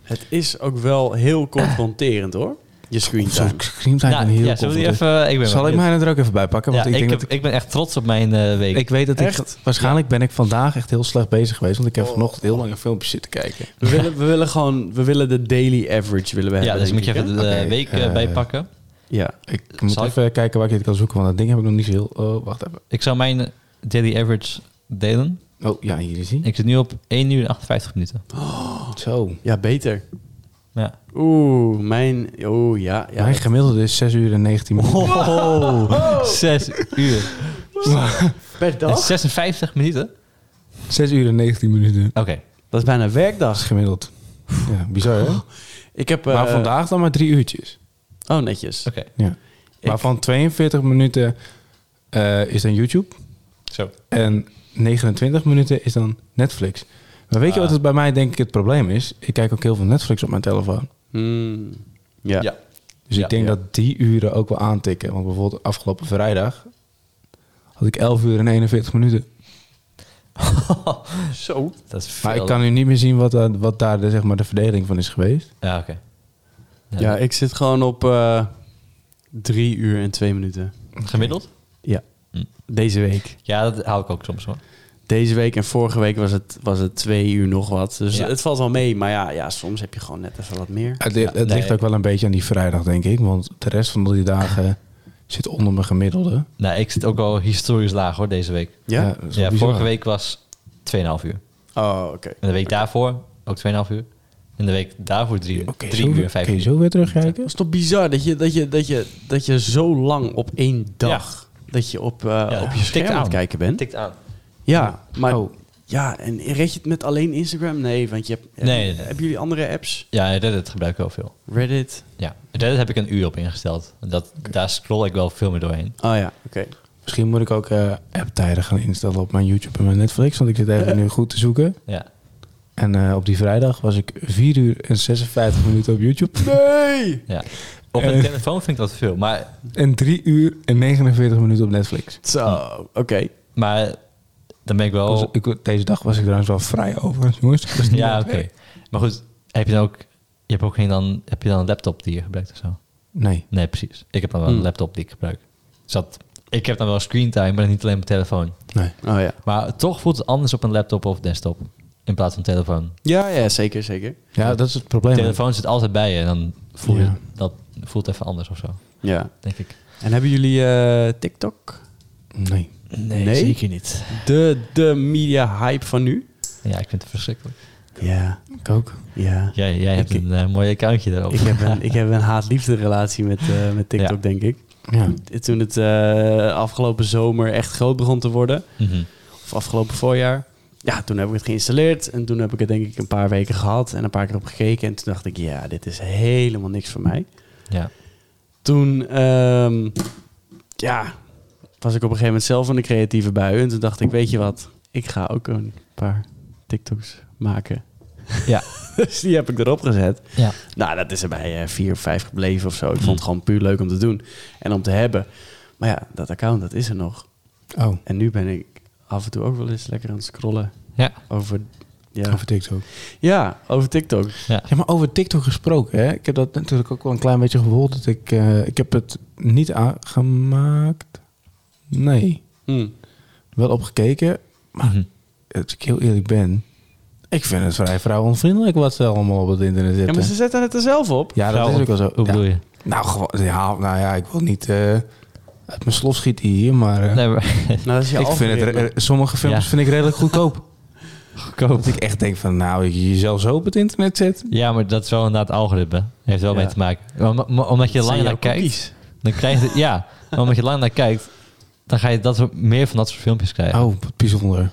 Speaker 1: Het is ook wel heel confronterend, hoor. Je screen time.
Speaker 2: Scream zijn
Speaker 3: Nou,
Speaker 2: heel
Speaker 3: ja, zullen we die even... Ik ben
Speaker 2: Zal ik mij er ook even bij pakken?
Speaker 3: Ja,
Speaker 2: Want
Speaker 3: ik,
Speaker 2: ik denk
Speaker 3: heb-
Speaker 2: dat ik,
Speaker 3: ik ben echt trots op mijn eh, week.
Speaker 2: ik weet dat
Speaker 1: Echt?
Speaker 2: ik... Waarschijnlijk ben ik vandaag echt heel slecht bezig geweest. Want ik
Speaker 3: Oh.
Speaker 2: heb vanochtend heel lang een filmpje zitten kijken.
Speaker 1: We willen, we willen gewoon, we willen de daily average willen we
Speaker 3: ja,
Speaker 1: hebben.
Speaker 3: dus ik moet je
Speaker 1: denk
Speaker 3: even
Speaker 1: hè?
Speaker 3: de
Speaker 2: Oké,
Speaker 3: week eh,
Speaker 2: eh,
Speaker 3: bijpakken.
Speaker 1: Ja.
Speaker 2: Ik moet
Speaker 3: Eh, Zal ik-
Speaker 2: even kijken waar ik dit kan zoeken. Want dat ding heb ik nog niet zo heel... Oh, wacht even.
Speaker 3: Ik zou mijn daily average delen.
Speaker 2: Oh, ja, hier is hij. Oh,
Speaker 3: Ik zit nu op 1 uur en 58 minuten.
Speaker 2: Zo.
Speaker 1: ja, beter.
Speaker 3: Ja.
Speaker 1: Oeh, mijn... Oeh, ja. ja
Speaker 2: Mijn
Speaker 1: dat-
Speaker 2: gemiddelde is 6 uur en 19 minuten.
Speaker 3: Oh, 6 uur.
Speaker 1: per
Speaker 3: En
Speaker 1: dag?
Speaker 3: 56 minuten? Oké.
Speaker 2: 6 uur en 19 minuten.
Speaker 1: Dat is bijna
Speaker 2: Dat is
Speaker 1: werkdag.
Speaker 2: gemiddeld. Ja, bizar hè?
Speaker 1: Ik heb... eh,
Speaker 2: Maar vandaag dan maar drie uurtjes.
Speaker 1: Oh, netjes.
Speaker 3: Oké.
Speaker 2: Ja.
Speaker 1: Ik-
Speaker 2: Maar van 42 minuten eh, is dan YouTube.
Speaker 3: Zo.
Speaker 2: En 29 minuten is dan Netflix. Maar weet je
Speaker 3: Ah.
Speaker 2: wat het bij mij denk ik het probleem is? Ik kijk ook heel veel Netflix op mijn telefoon.
Speaker 1: Hmm, ja.
Speaker 3: Ja.
Speaker 2: Dus
Speaker 3: Ja,
Speaker 2: ik denk
Speaker 1: ja.
Speaker 2: dat die uren ook wel aantikken. Want bijvoorbeeld afgelopen vrijdag had ik 11 uur en 41 minuten.
Speaker 1: Zo.
Speaker 3: Dat is veel.
Speaker 2: Maar ik kan nu niet meer zien wat, daar- wat daar de, zeg maar, de verdeling van is geweest.
Speaker 3: Ja, oké.
Speaker 1: Ja, ik zit gewoon op eh drie uur en twee minuten.
Speaker 3: Gemiddeld?
Speaker 1: Ja.
Speaker 3: Hm.
Speaker 1: Deze week.
Speaker 3: Ja, dat hou ik ook soms hoor.
Speaker 1: Deze week en vorige week was het, was het twee uur nog wat. Dus
Speaker 3: Ja.
Speaker 1: het valt wel mee. Maar ja, ja, soms heb je gewoon net even wat meer.
Speaker 2: Het, li-
Speaker 3: Ja,
Speaker 2: het
Speaker 3: nee.
Speaker 2: ligt ook wel een beetje aan die vrijdag, denk ik. Want de rest van die dagen zit onder mijn gemiddelde.
Speaker 3: Nou, ik zit ook al historisch laag hoor deze week.
Speaker 1: Ja?
Speaker 2: dat is wel
Speaker 3: Ja,
Speaker 2: bizar.
Speaker 3: vorige week was 2,5 uur.
Speaker 1: Oh, oké.
Speaker 3: En de week daarvoor ook 2,5 uur. En de week daarvoor 3 uur.
Speaker 2: Oké,
Speaker 3: 3
Speaker 2: zo-
Speaker 3: uur en 5
Speaker 2: kun je
Speaker 3: uur.
Speaker 2: zo weer terugkijken?
Speaker 1: Het is toch bizar dat je, dat je, dat je, dat je zo lang op één dag... dat je op, eh,
Speaker 3: Ja,
Speaker 1: op je
Speaker 3: tikt
Speaker 1: scherm aan
Speaker 3: aan.
Speaker 1: het kijken bent.
Speaker 3: Tikt aan.
Speaker 1: Ja, maar...
Speaker 2: Oh.
Speaker 1: Ja, en red je het met alleen Instagram? Nee, want je hebt...
Speaker 3: Nee, nee, nee.
Speaker 1: Hebben jullie andere apps?
Speaker 3: Ja, Reddit gebruik ik wel veel.
Speaker 1: Reddit?
Speaker 3: Ja, Reddit heb ik een uur op ingesteld. Dat, Daar scroll ik wel veel meer doorheen.
Speaker 1: Oh ja, oké.
Speaker 2: Misschien moet ik ook eh app-tijden gaan instellen op mijn YouTube en mijn Netflix. Want ik zit even nu goed te zoeken.
Speaker 3: Ja.
Speaker 2: En eh, op die vrijdag was ik 4 uur en 56 minuten op YouTube.
Speaker 1: Nee!
Speaker 3: ja. Op een
Speaker 2: Eh.
Speaker 3: telefoon vind ik dat veel. Maar,
Speaker 2: En 3 uur en 49 minuten op Netflix.
Speaker 1: Zo, oké.
Speaker 3: maar dan ben ik wel...
Speaker 2: Was- Dus ik, deze dag was ik trouwens wel vrij over, jongens. Ik was niet
Speaker 3: Oh. ja,
Speaker 2: aan
Speaker 3: oké.
Speaker 2: het werk.
Speaker 3: Maar goed, heb je dan ook... Je hebt ook geen dan... Heb je dan een laptop die je gebruikt of zo?
Speaker 2: Nee.
Speaker 3: Nee, precies. Ik heb dan wel een
Speaker 1: Hmm.
Speaker 3: laptop die ik gebruik. Dus dat... Ik heb dan wel screentime, maar niet alleen mijn telefoon.
Speaker 2: nee.
Speaker 1: Oh ja.
Speaker 3: Maar toch voelt het anders op een laptop of desktop. In plaats van telefoon.
Speaker 1: Ja, ja, zeker, zeker.
Speaker 2: Ja, dat is het probleem.
Speaker 3: telefoon zit altijd bij je. En dan voel je...
Speaker 2: Ja.
Speaker 3: Dat voelt even anders of zo.
Speaker 1: Ja.
Speaker 3: Denk ik.
Speaker 1: En hebben jullie eh, TikTok?
Speaker 2: Nee.
Speaker 1: Nee, Nee? zeker
Speaker 3: niet.
Speaker 1: De, de media hype van nu?
Speaker 3: Ja, ik vind het verschrikkelijk.
Speaker 1: Ja,
Speaker 2: Ik ook.
Speaker 1: ja.
Speaker 3: Jij, jij hebt
Speaker 1: Ik-
Speaker 3: een eh, mooi accountje daarop.
Speaker 1: Ik heb een, ik heb een haat-liefde relatie met, eh, met TikTok,
Speaker 3: Ja.
Speaker 1: denk ik.
Speaker 2: Ja.
Speaker 1: Toen het eh, afgelopen zomer echt groot begon te worden,
Speaker 3: Mhm.
Speaker 1: of afgelopen voorjaar, ja, toen heb ik het geïnstalleerd. En toen heb ik het denk ik een paar weken gehad en een paar keer op gekeken. En toen dacht ik, ja, dit is helemaal niks voor mij.
Speaker 3: Ja.
Speaker 1: toen ehm, ja, was ik op een gegeven moment zelf in de creatieve bui. En toen dacht ik, weet je wat, ik ga ook een paar TikToks maken.
Speaker 3: Ja.
Speaker 1: dus die heb ik erop gezet.
Speaker 3: Ja.
Speaker 1: Nou, dat is er bij eh, vier of vijf gebleven of zo. Ik vond het gewoon puur leuk om te doen en om te hebben. Maar ja, dat account, dat is er nog.
Speaker 2: Oh,
Speaker 1: En nu ben ik af en toe ook wel eens lekker aan het scrollen
Speaker 3: Ja.
Speaker 1: over... Ja,
Speaker 2: over TikTok.
Speaker 1: ja over TikTok.
Speaker 2: Ja, maar over TikTok gesproken, hè? ik heb dat natuurlijk ook wel een klein beetje gevoeld. Dat ik, eh, ik heb het niet aangemaakt. Nee,
Speaker 1: Hm.
Speaker 2: wel opgekeken.
Speaker 3: Mhm.
Speaker 2: Als ik heel eerlijk ben, ik vind het vrij vrouwenonvriendelijk wat ze allemaal op het internet
Speaker 1: Ja,
Speaker 2: zetten.
Speaker 1: maar ze zetten het er zelf op.
Speaker 2: eh. Ja, dat
Speaker 3: Vrouw-
Speaker 2: is ook wel zo.
Speaker 3: Hoe bedoel je?
Speaker 2: Ja. Nou, gewoon, ja, nou ja, ik wil niet eh, Uit mijn slof schiet hij hier, maar... eh,
Speaker 3: Nee, maar
Speaker 1: Nou, dat is je
Speaker 2: ik vind het,
Speaker 1: algoritme.
Speaker 2: re- sommige films
Speaker 3: Ja.
Speaker 2: vind ik redelijk goedkoop.
Speaker 3: goedkoop.
Speaker 2: dat ik echt denk van, nou, je jezelf zo op het internet zet.
Speaker 3: Ja, maar dat is wel inderdaad algoritme. Heeft wel
Speaker 1: Ja.
Speaker 3: mee te maken. Om- om- omdat je
Speaker 1: Dat
Speaker 3: lang
Speaker 1: zijn
Speaker 3: naar
Speaker 1: jouw
Speaker 3: kijkt,
Speaker 1: cookies.
Speaker 3: dan krijg je... Ja, maar omdat je lang naar kijkt, dan ga je dat soort, meer van dat soort filmpjes krijgen.
Speaker 2: Oh, wat bijzonder.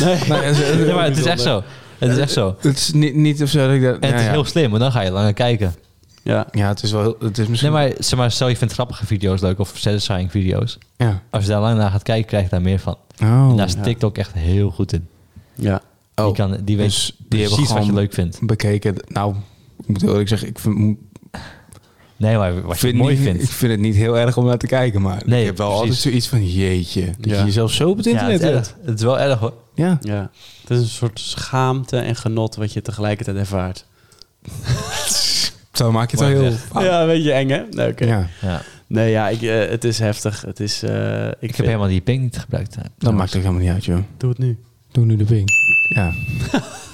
Speaker 1: Nee.
Speaker 3: ja, maar het is echt zo. Het is echt zo.
Speaker 2: Het is niet, niet of zo dat ik dat...
Speaker 3: En het
Speaker 2: ja,
Speaker 3: is
Speaker 2: ja.
Speaker 3: heel slim, want dan ga je langer kijken.
Speaker 1: Ja.
Speaker 2: ja, het is wel heel... Het is
Speaker 3: Nee,
Speaker 2: misschien...
Speaker 3: maar, zeg maar stel je vindt grappige video's leuk of satisfying video's.
Speaker 2: Ja.
Speaker 3: Als je daar lang naar gaat kijken, krijg je daar meer van.
Speaker 2: Oh.
Speaker 3: En daar is
Speaker 1: ja.
Speaker 3: TikTok echt heel goed in.
Speaker 1: ja.
Speaker 3: Nou, Die,
Speaker 2: Oh,
Speaker 3: kan, die weet
Speaker 2: dus die hebben
Speaker 3: precies wat je
Speaker 2: gewoon-
Speaker 3: leuk vindt.
Speaker 2: bekeken. Nou, ik moet heel eerlijk zeggen, ik vind,
Speaker 3: Nee, maar wat je
Speaker 2: vind
Speaker 3: mooi
Speaker 2: niet-
Speaker 3: vindt.
Speaker 2: ik vind het niet heel erg om naar te kijken, maar
Speaker 3: Nee,
Speaker 2: ik heb wel
Speaker 3: precies.
Speaker 2: altijd zoiets van, jeetje, dat
Speaker 1: Ja.
Speaker 2: je jezelf zo op het
Speaker 3: Ja, het,
Speaker 2: internet
Speaker 3: is
Speaker 2: zet.
Speaker 3: erg. het is wel erg hoor.
Speaker 2: Ja.
Speaker 1: Ja. Het is een soort schaamte en genot wat je tegelijkertijd ervaart.
Speaker 2: Zo maak je het wel
Speaker 3: Mooi
Speaker 2: heel...
Speaker 3: gezegd.
Speaker 2: Ah,
Speaker 1: Ja, een beetje eng, hè? Nee, oké.
Speaker 2: Ja,
Speaker 3: Ja.
Speaker 1: Nee, ja, ik, eh, het is heftig. Het is, eh, ik,
Speaker 3: Ik heb helemaal die ping niet gebruikt.
Speaker 2: dat maakt ook helemaal niet uit, joh.
Speaker 1: Doe het nu.
Speaker 2: Doe nu de ping. Ja,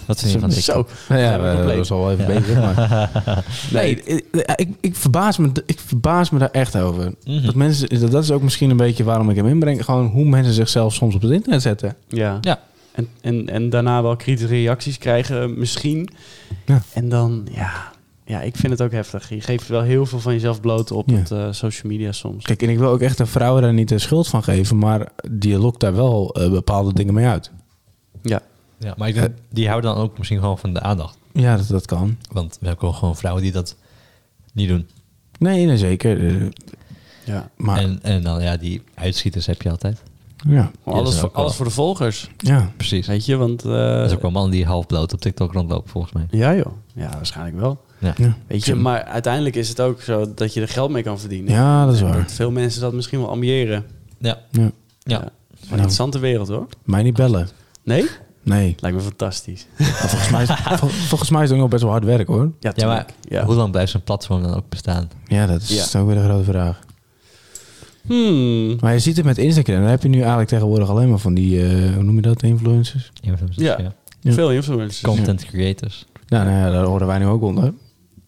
Speaker 3: Dat vind je van TikTok.
Speaker 1: Zo.
Speaker 2: Nou
Speaker 1: Ja,
Speaker 2: ja, we-
Speaker 1: compleet.
Speaker 2: dat was al wel even
Speaker 3: Ja.
Speaker 2: bezig, maar...
Speaker 1: Nee,
Speaker 2: Nee, ik, ik, verbaas me, ik verbaas me daar echt over.
Speaker 3: Mhm.
Speaker 2: Dat, mensen, dat, dat is ook misschien een beetje waarom ik hem inbreng. Gewoon hoe mensen zichzelf soms op het internet zetten.
Speaker 1: Ja.
Speaker 3: Ja.
Speaker 1: En, en, en daarna wel kritische reacties krijgen, eh, misschien.
Speaker 2: Ja.
Speaker 1: En dan, ja. Ja, ik vind het ook heftig. Je geeft wel heel veel van jezelf bloot op
Speaker 2: Ja.
Speaker 1: het, eh, social media soms.
Speaker 2: Kijk, en ik wil ook echt de vrouwen daar niet de schuld van geven, maar die lokt daar wel eh, bepaalde dingen mee uit.
Speaker 1: Ja.
Speaker 3: Ja, maar ik denk, die houden dan ook misschien gewoon van de aandacht.
Speaker 2: Ja, dat, dat kan.
Speaker 3: Want we hebben ook gewoon vrouwen die dat niet doen.
Speaker 2: Nee, nee zeker. Eh,
Speaker 1: ja.
Speaker 2: maar
Speaker 3: En, en dan, ja, die uitschieters heb je altijd.
Speaker 2: ja,
Speaker 3: dat
Speaker 1: Alles,
Speaker 3: is
Speaker 1: voor,
Speaker 3: ook wel.
Speaker 1: alles voor de volgers.
Speaker 2: ja.
Speaker 3: Precies.
Speaker 1: Weet je, want... eh,
Speaker 3: Dat is ook wel mannen die half bloot op TikTok rondlopen, volgens mij.
Speaker 1: Ja joh. Ja, waarschijnlijk wel.
Speaker 2: ja.
Speaker 1: Weet je, maar uiteindelijk is het ook zo dat je er geld mee kan verdienen.
Speaker 2: Ja, dat is
Speaker 1: En
Speaker 2: waar.
Speaker 1: dat veel mensen dat misschien wel ambiëren.
Speaker 3: Ja.
Speaker 2: Ja.
Speaker 3: Ja.
Speaker 1: Ja. Maar
Speaker 2: Nou.
Speaker 1: interessante wereld hoor.
Speaker 2: Mij niet bellen.
Speaker 1: Nee?
Speaker 2: Nee.
Speaker 1: Lijkt me fantastisch.
Speaker 2: Maar volgens, mij is, vol- volgens mij is het ook nog best wel hard werk hoor.
Speaker 1: Ja,
Speaker 3: Ja, maar
Speaker 1: tuurlijk. Ja.
Speaker 3: hoe lang blijft zo'n platform dan ook bestaan?
Speaker 2: Ja, dat is
Speaker 1: Ja.
Speaker 2: ook weer een grote vraag.
Speaker 1: Hmm.
Speaker 2: Maar je ziet het met Instagram. Dan heb je nu eigenlijk tegenwoordig alleen maar van die, eh, hoe noem je dat, influencers.
Speaker 3: Influencers,
Speaker 1: Ja.
Speaker 3: ja.
Speaker 2: Ja.
Speaker 1: Veel influencers.
Speaker 3: Content creators.
Speaker 2: Nou, nou ja, daar horen wij nu ook onder.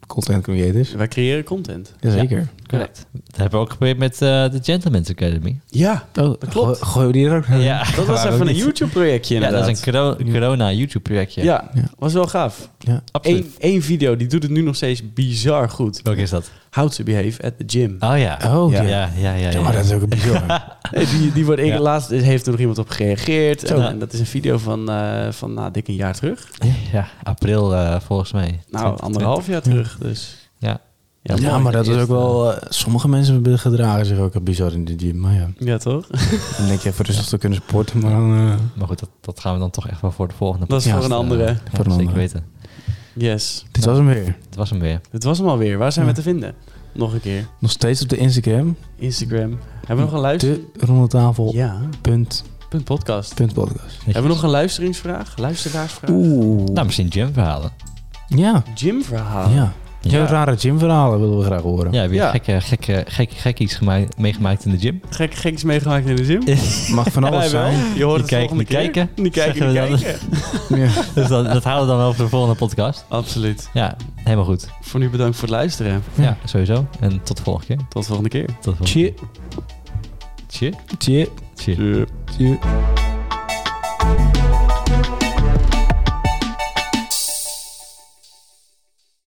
Speaker 2: Content creators.
Speaker 1: Wij creëren content.
Speaker 2: Jazeker.
Speaker 3: Correct. Dat hebben we ook geprobeerd met eh, de Gentleman's Academy.
Speaker 1: Ja,
Speaker 2: Oh, dat
Speaker 1: klopt.
Speaker 2: Gooi, gooien we die er ook naar?
Speaker 1: dat was
Speaker 2: Waarom
Speaker 1: even een
Speaker 2: niet?
Speaker 1: YouTube-projectje
Speaker 3: Ja,
Speaker 1: inderdaad.
Speaker 3: dat is een coro- corona YouTube projectje.
Speaker 1: Ja,
Speaker 2: Ja.
Speaker 1: was wel gaaf.
Speaker 2: Ja.
Speaker 3: absoluut.
Speaker 1: Eén één video, die doet het nu nog steeds bizar goed.
Speaker 3: Welke is dat?
Speaker 1: How to behave at the gym.
Speaker 3: Oh ja.
Speaker 2: Oh,
Speaker 3: ja.
Speaker 2: ja.
Speaker 3: Ja, ja, ja.
Speaker 2: Ja, maar dat is ook een bizar.
Speaker 1: Nee, die, die wordt
Speaker 3: Ja.
Speaker 1: ja. laatst heeft er nog iemand op gereageerd. En,
Speaker 3: Zo.
Speaker 1: en dat is een video van, eh, van nou, dik een jaar terug.
Speaker 3: Ja, april eh, volgens mij.
Speaker 1: Nou, anderhalf jaar terug. Dus
Speaker 3: Ja.
Speaker 1: ja,
Speaker 2: ja,
Speaker 1: mooi.
Speaker 2: maar dat is
Speaker 3: Eerst,
Speaker 2: ook wel... eh, sommige mensen gedragen zich ook bizar in de gym. Maar ja,
Speaker 1: Ja, toch?
Speaker 2: dan denk je even rustig te kunnen sporten, maar dan... eh,
Speaker 3: Maar goed, dat, dat gaan we dan toch echt wel voor de volgende
Speaker 1: Dat is
Speaker 2: Ja,
Speaker 1: voor een
Speaker 3: eh,
Speaker 1: andere.
Speaker 3: ja,
Speaker 2: Voor een
Speaker 3: Zeker
Speaker 2: andere.
Speaker 3: weten.
Speaker 1: Yes.
Speaker 2: dit was hem weer.
Speaker 3: Het was hem weer.
Speaker 1: Het was hem alweer. Waar zijn we
Speaker 2: Ja.
Speaker 1: te vinden? Nog een keer.
Speaker 2: Nog steeds op de Instagram.
Speaker 1: Instagram. Hebben we nog een luister?
Speaker 2: De rondetafel.
Speaker 1: Ja.
Speaker 2: Punt,
Speaker 1: Punt podcast.
Speaker 2: punt podcast.
Speaker 1: Hebben we nog een luisteringsvraag? Luisteraarsvraag?
Speaker 2: Oeh.
Speaker 3: Nou, misschien gymverhalen.
Speaker 2: Ja.
Speaker 1: Gymverhaal.
Speaker 2: Ja. Jouw rare gymverhalen willen we graag horen.
Speaker 3: Ja, heb je
Speaker 1: Ja.
Speaker 3: gekke, gekke, gek, gek iets gemaakt, meegemaakt in de gym?
Speaker 1: Gek, gek is meegemaakt in de gym.
Speaker 2: Mag van alles
Speaker 1: Wij wel.
Speaker 2: zijn.
Speaker 1: Je hoort het
Speaker 3: kijken,
Speaker 1: volgende keer.
Speaker 3: die kijken.
Speaker 1: Die kijken, die
Speaker 3: Zeggen we dan.
Speaker 1: kijken.
Speaker 2: Ja.
Speaker 3: Dus dat, dat houden we dan wel voor de volgende podcast.
Speaker 1: Absoluut.
Speaker 3: Ja, helemaal goed.
Speaker 1: Voor nu bedankt voor het luisteren.
Speaker 3: Ja, sowieso. En tot de volgende keer.
Speaker 1: Tot de volgende keer.
Speaker 3: Tot de volgende
Speaker 2: Tje,
Speaker 3: keer. Cheer.
Speaker 2: tje,
Speaker 3: Cheer.
Speaker 2: tje.